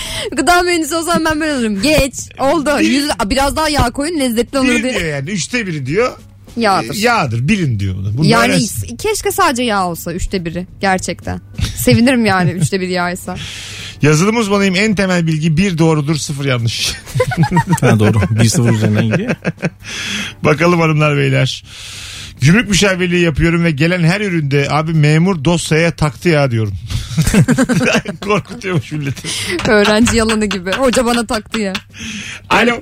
[SPEAKER 3] (laughs) Gıda mühendisi olsam ben böyle olurum. Geç. Oldu. Yüz... Biraz daha yağ koyun lezzetli olur
[SPEAKER 2] Birin
[SPEAKER 3] diye.
[SPEAKER 2] diyor yani. Üçte biri diyor.
[SPEAKER 3] Yağdır.
[SPEAKER 2] Yağdır. Bilin diyor bunu. Bunu
[SPEAKER 3] yani
[SPEAKER 2] öğrensin.
[SPEAKER 3] keşke sadece yağ olsa üçte biri gerçekten. Sevinirim yani üçte biri yağysa.
[SPEAKER 2] Yazılım uzmanıyım. En temel bilgi bir doğrudur sıfır yanlış.
[SPEAKER 4] Ha, doğru. 1-0 üzerinden gidiyor.
[SPEAKER 2] Bakalım hanımlar beyler. Gümrük müşavirliği yapıyorum ve gelen her üründe abi memur dosyaya taktı ya diyorum. (laughs) Korkutuyormuş milleti.
[SPEAKER 3] Öğrenci yalanı gibi. Hoca bana taktı ya.
[SPEAKER 2] Alo.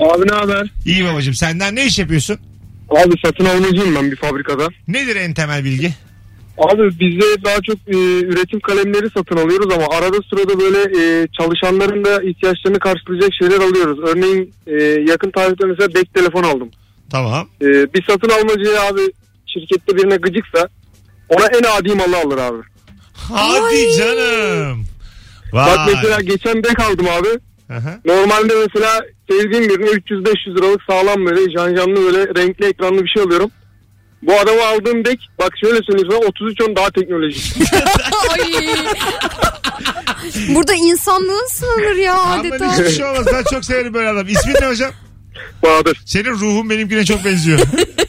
[SPEAKER 7] Abi ne haber?
[SPEAKER 2] İyi babacığım senden ne iş yapıyorsun?
[SPEAKER 7] Abi satın almacıyım ben bir fabrikada.
[SPEAKER 2] Nedir en temel bilgi?
[SPEAKER 7] Abi bizde daha çok e, üretim kalemleri satın alıyoruz ama arada sırada böyle e, çalışanların da ihtiyaçlarını karşılayacak şeyler alıyoruz. Örneğin e, yakın tarihte mesela bek telefon aldım.
[SPEAKER 2] Tamam.
[SPEAKER 7] E, bir satın almacıya abi şirkette birine gıcıksa ona en adi malı alır abi.
[SPEAKER 2] Hadi canım.
[SPEAKER 7] Bak
[SPEAKER 2] Vay.
[SPEAKER 7] mesela geçen bek aldım abi.
[SPEAKER 2] Aha.
[SPEAKER 7] Normalde mesela sevdiğim birine 300-500 liralık sağlam böyle janjanlı böyle renkli ekranlı bir şey alıyorum. Bu adamı aldığım bek bak şöyle söyleyeyim sana 3310 daha teknolojik.
[SPEAKER 3] Ay. (laughs) Burada insanlığın sınırır ya adeta.
[SPEAKER 2] Aman hiçbir şey olmaz. Ben çok severim böyle adam. İsmin ne hocam?
[SPEAKER 7] Bahadır.
[SPEAKER 2] Senin ruhun benimkine çok benziyor.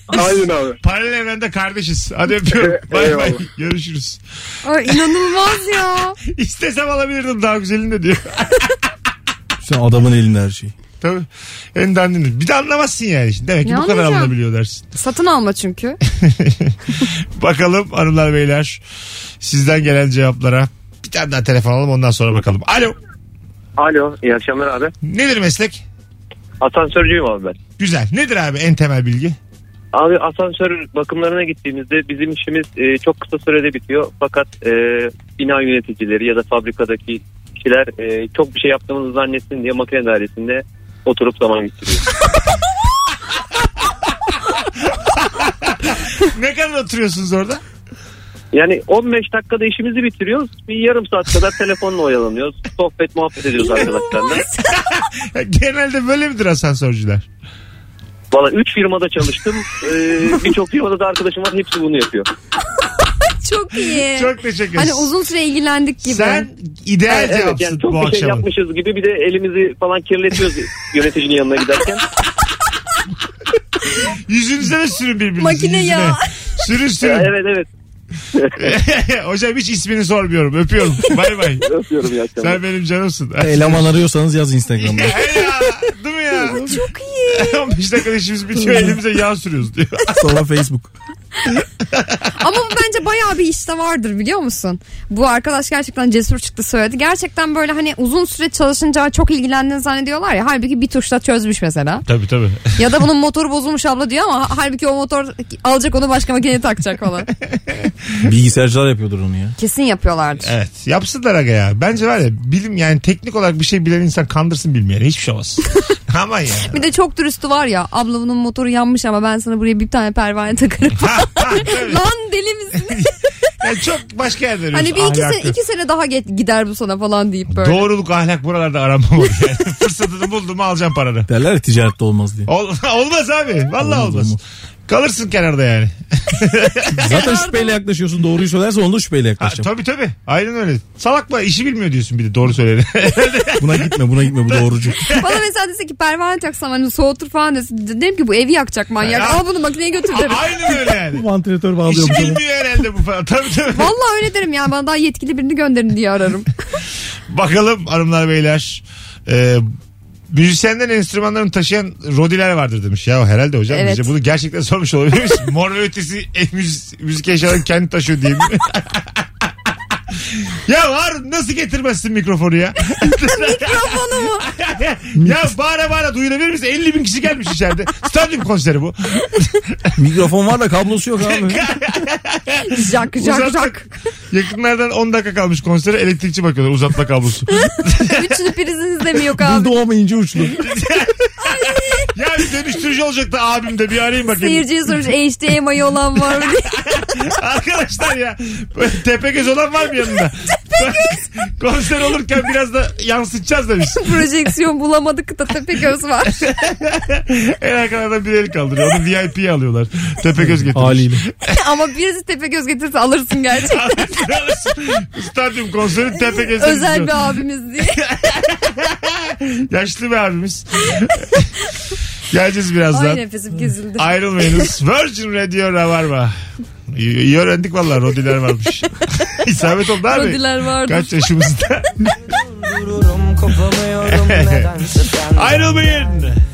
[SPEAKER 7] Aynen abi.
[SPEAKER 2] Paralel evrende kardeşiz. Hadi öpüyorum. Bay bay.
[SPEAKER 7] Eyvallah.
[SPEAKER 2] Görüşürüz.
[SPEAKER 3] Ay, inanılmaz ya.
[SPEAKER 2] İstesem alabilirdim daha güzelini de diyor.
[SPEAKER 4] Sen adamın elinde her şey.
[SPEAKER 2] Tabii. En dandini. Bir de anlamazsın yani. Şimdi. Demek ki
[SPEAKER 3] Ne
[SPEAKER 2] bu kadar
[SPEAKER 3] anlayacağım?
[SPEAKER 2] alınabiliyor dersin.
[SPEAKER 3] Satın alma çünkü.
[SPEAKER 2] Bakalım hanımlar beyler. Sizden gelen cevaplara. Bir tane daha telefon alalım ondan sonra bakalım. Alo.
[SPEAKER 8] Alo iyi akşamlar abi.
[SPEAKER 2] Nedir meslek?
[SPEAKER 8] Asansörcüyüm abi ben.
[SPEAKER 2] Güzel. Nedir abi en temel bilgi?
[SPEAKER 8] Abi asansör bakımlarına gittiğimizde bizim işimiz e, çok kısa sürede bitiyor. Fakat e, bina yöneticileri ya da fabrikadaki kişiler e, çok bir şey yaptığımızı zannetsin diye makine dairesinde oturup zaman geçiriyor.
[SPEAKER 2] ne kadar oturuyorsunuz orada? (laughs)
[SPEAKER 8] Yani 15 dakikada işimizi bitiriyoruz. Bir yarım saat kadar telefonla oyalanıyoruz. Sohbet muhabbet ediyoruz arkadaşlarla.
[SPEAKER 2] Genelde böyle midir asansörcüler?
[SPEAKER 8] Valla 3 firmada çalıştım. E, Birçok firmada da arkadaşım var. Hepsi bunu yapıyor.
[SPEAKER 3] Çok iyi.
[SPEAKER 2] Çok teşekkür
[SPEAKER 3] Hani
[SPEAKER 2] ederiz.
[SPEAKER 3] uzun süre ilgilendik gibi.
[SPEAKER 2] Sen ideal
[SPEAKER 8] Evet,
[SPEAKER 2] cevapsın
[SPEAKER 8] yani çok
[SPEAKER 2] bu
[SPEAKER 8] bir şey
[SPEAKER 2] akşamın.
[SPEAKER 8] yapmışız gibi bir de elimizi falan kirletiyoruz yöneticinin yanına giderken.
[SPEAKER 2] Yüzünüze de sürün birbirinizin
[SPEAKER 3] Makine
[SPEAKER 2] yüzüne.
[SPEAKER 3] ya.
[SPEAKER 2] Sürün sürün.
[SPEAKER 8] (laughs) evet evet
[SPEAKER 2] (laughs) Hocam hiç ismini sormuyorum. Öpüyorum.
[SPEAKER 8] (laughs)
[SPEAKER 2] Bay bay.
[SPEAKER 8] öpüyorum ya.
[SPEAKER 2] Sen benim canımsın.
[SPEAKER 4] (laughs) Eleman arıyorsanız yaz
[SPEAKER 2] (laughs)
[SPEAKER 4] Instagram'da.
[SPEAKER 2] ya, değil mi ya?
[SPEAKER 3] (laughs) Çok iyi.
[SPEAKER 2] 15 dakika işimiz bitiyor elimize yağ sürüyoruz
[SPEAKER 3] (laughs)
[SPEAKER 2] diyor.
[SPEAKER 4] Sonra Facebook.
[SPEAKER 3] Ama bu bence bayağı bir işte vardır biliyor musun? Bu arkadaş gerçekten cesur çıktı söyledi. Gerçekten böyle hani uzun süre çalışınca çok ilgilendiğini zannediyorlar ya. Halbuki bir tuşla çözmüş mesela.
[SPEAKER 2] Tabii tabii.
[SPEAKER 3] Ya da bunun motoru bozulmuş abla diyor ama halbuki o motor alacak onu başka makineye takacak falan.
[SPEAKER 4] Bilgisayarcılar yapıyordur onu ya.
[SPEAKER 3] Kesin yapıyorlardır.
[SPEAKER 2] Evet. Yapsınlar aga ya. Bence var ya bilim yani teknik olarak bir şey bilen insan kandırsın bilmeyene. Hiçbir şey
[SPEAKER 3] (laughs)
[SPEAKER 2] olmaz. Aman ya.
[SPEAKER 3] Bir de çok dürüstü var ya abla bunun motoru yanmış ama ben sana buraya bir tane pervane takarım.
[SPEAKER 2] Ha, ha, tabii.
[SPEAKER 3] Lan deli misin?
[SPEAKER 2] Yani çok başka yerde
[SPEAKER 3] hani bir
[SPEAKER 2] arıyoruz.
[SPEAKER 3] iki sene,
[SPEAKER 2] Ahlakı.
[SPEAKER 3] iki sene daha ge- gider bu sana falan deyip böyle.
[SPEAKER 2] Doğruluk ahlak buralarda aranmamalı. Yani (laughs) fırsatını buldum mu alacağım paranı.
[SPEAKER 4] Derler ya ticarette olmaz diye.
[SPEAKER 2] Ol- (laughs) olmaz abi. Vallahi
[SPEAKER 4] Olmaz,
[SPEAKER 2] olmaz.
[SPEAKER 4] olmaz.
[SPEAKER 2] Kalırsın kenarda yani.
[SPEAKER 4] Zaten şüpheyle yaklaşıyorsun. Doğruyu söylerse onu da şüpheyle
[SPEAKER 2] Ha,
[SPEAKER 4] yaklaşacağım.
[SPEAKER 2] tabii tabii. Aynen öyle. Salak mı? İşi bilmiyor diyorsun bir de doğru
[SPEAKER 3] (laughs)
[SPEAKER 2] söyleyene.
[SPEAKER 4] Buna gitme buna gitme bu doğrucu.
[SPEAKER 3] Bana mesela dese ki pervane taksam hani soğutur falan desin. De- Derim ki bu evi yakacak manyak.
[SPEAKER 2] Ya.
[SPEAKER 3] Al bunu makineye götür derim.
[SPEAKER 2] Aynen öyle yani.
[SPEAKER 4] Vantilatör bağlıyor
[SPEAKER 2] İşi
[SPEAKER 4] bu zaman.
[SPEAKER 2] bilmiyor herhalde bu falan. Tabii tabii.
[SPEAKER 3] Vallahi öyle derim yani bana daha yetkili birini gönderin
[SPEAKER 2] (laughs)
[SPEAKER 3] diye ararım.
[SPEAKER 2] Bakalım hanımlar beyler. Ee, müzisyenden enstrümanlarını taşıyan rodiler vardır demiş. Ya herhalde hocam
[SPEAKER 3] Evet.
[SPEAKER 2] bize bunu gerçekten sormuş olabilir miyiz? Mor ve ötesi e, müzik, müzik eşyalarını kendi taşıyor diye mi? (laughs) ya Harun nasıl getirmezsin mikrofonu ya?
[SPEAKER 3] Mikrofonu mu?
[SPEAKER 2] ya bağıra bağıra duyulabilir misin? 50 bin kişi gelmiş içeride. Stadyum konseri bu.
[SPEAKER 4] Mikrofon var da kablosu yok abi.
[SPEAKER 3] Jack jack jack.
[SPEAKER 2] Yakınlardan 10 dakika kalmış konsere elektrikçi bakıyorlar uzatma kablosu.
[SPEAKER 3] Üçünü prizinizde mi yok abi?
[SPEAKER 4] Buldu ama ince uçlu.
[SPEAKER 2] ya bir dönüştürücü olacaktı abim de bir arayayım bakayım.
[SPEAKER 3] Seyirciye sormuş HDMI olan var mı diye. (laughs)
[SPEAKER 2] Arkadaşlar ya böyle tepegöz olan var mı
[SPEAKER 3] (laughs)
[SPEAKER 2] yanında? (laughs) Konser olurken biraz da yansıtacağız demiş.
[SPEAKER 3] Projeksiyon bulamadık da Tepegöz var. (laughs)
[SPEAKER 2] En arkalardan bir el kaldırıyor. Onu VIP'ye alıyorlar. Tepegöz getirmiş. (laughs)
[SPEAKER 4] Haliyle.
[SPEAKER 3] Ama birisi Tepegöz getirse alırsın gerçekten.
[SPEAKER 2] Stadyum konseri Tepegöz'e
[SPEAKER 3] Özel
[SPEAKER 2] gidiyor.
[SPEAKER 3] bir abimiz diye.
[SPEAKER 2] Yaşlı bir abimiz. (laughs) Geleceğiz birazdan.
[SPEAKER 3] Ay nefesim kesildi.
[SPEAKER 2] Ayrılmayınız. Virgin Radio Rabarba. İyi, iyi öğrendik vallahi Rodiler
[SPEAKER 3] (laughs)
[SPEAKER 2] varmış. İsabet oldu abi.
[SPEAKER 3] Rodiler vardı.
[SPEAKER 2] Kaç
[SPEAKER 3] (laughs)
[SPEAKER 2] yaşımızda? (laughs) Ayrılmayın.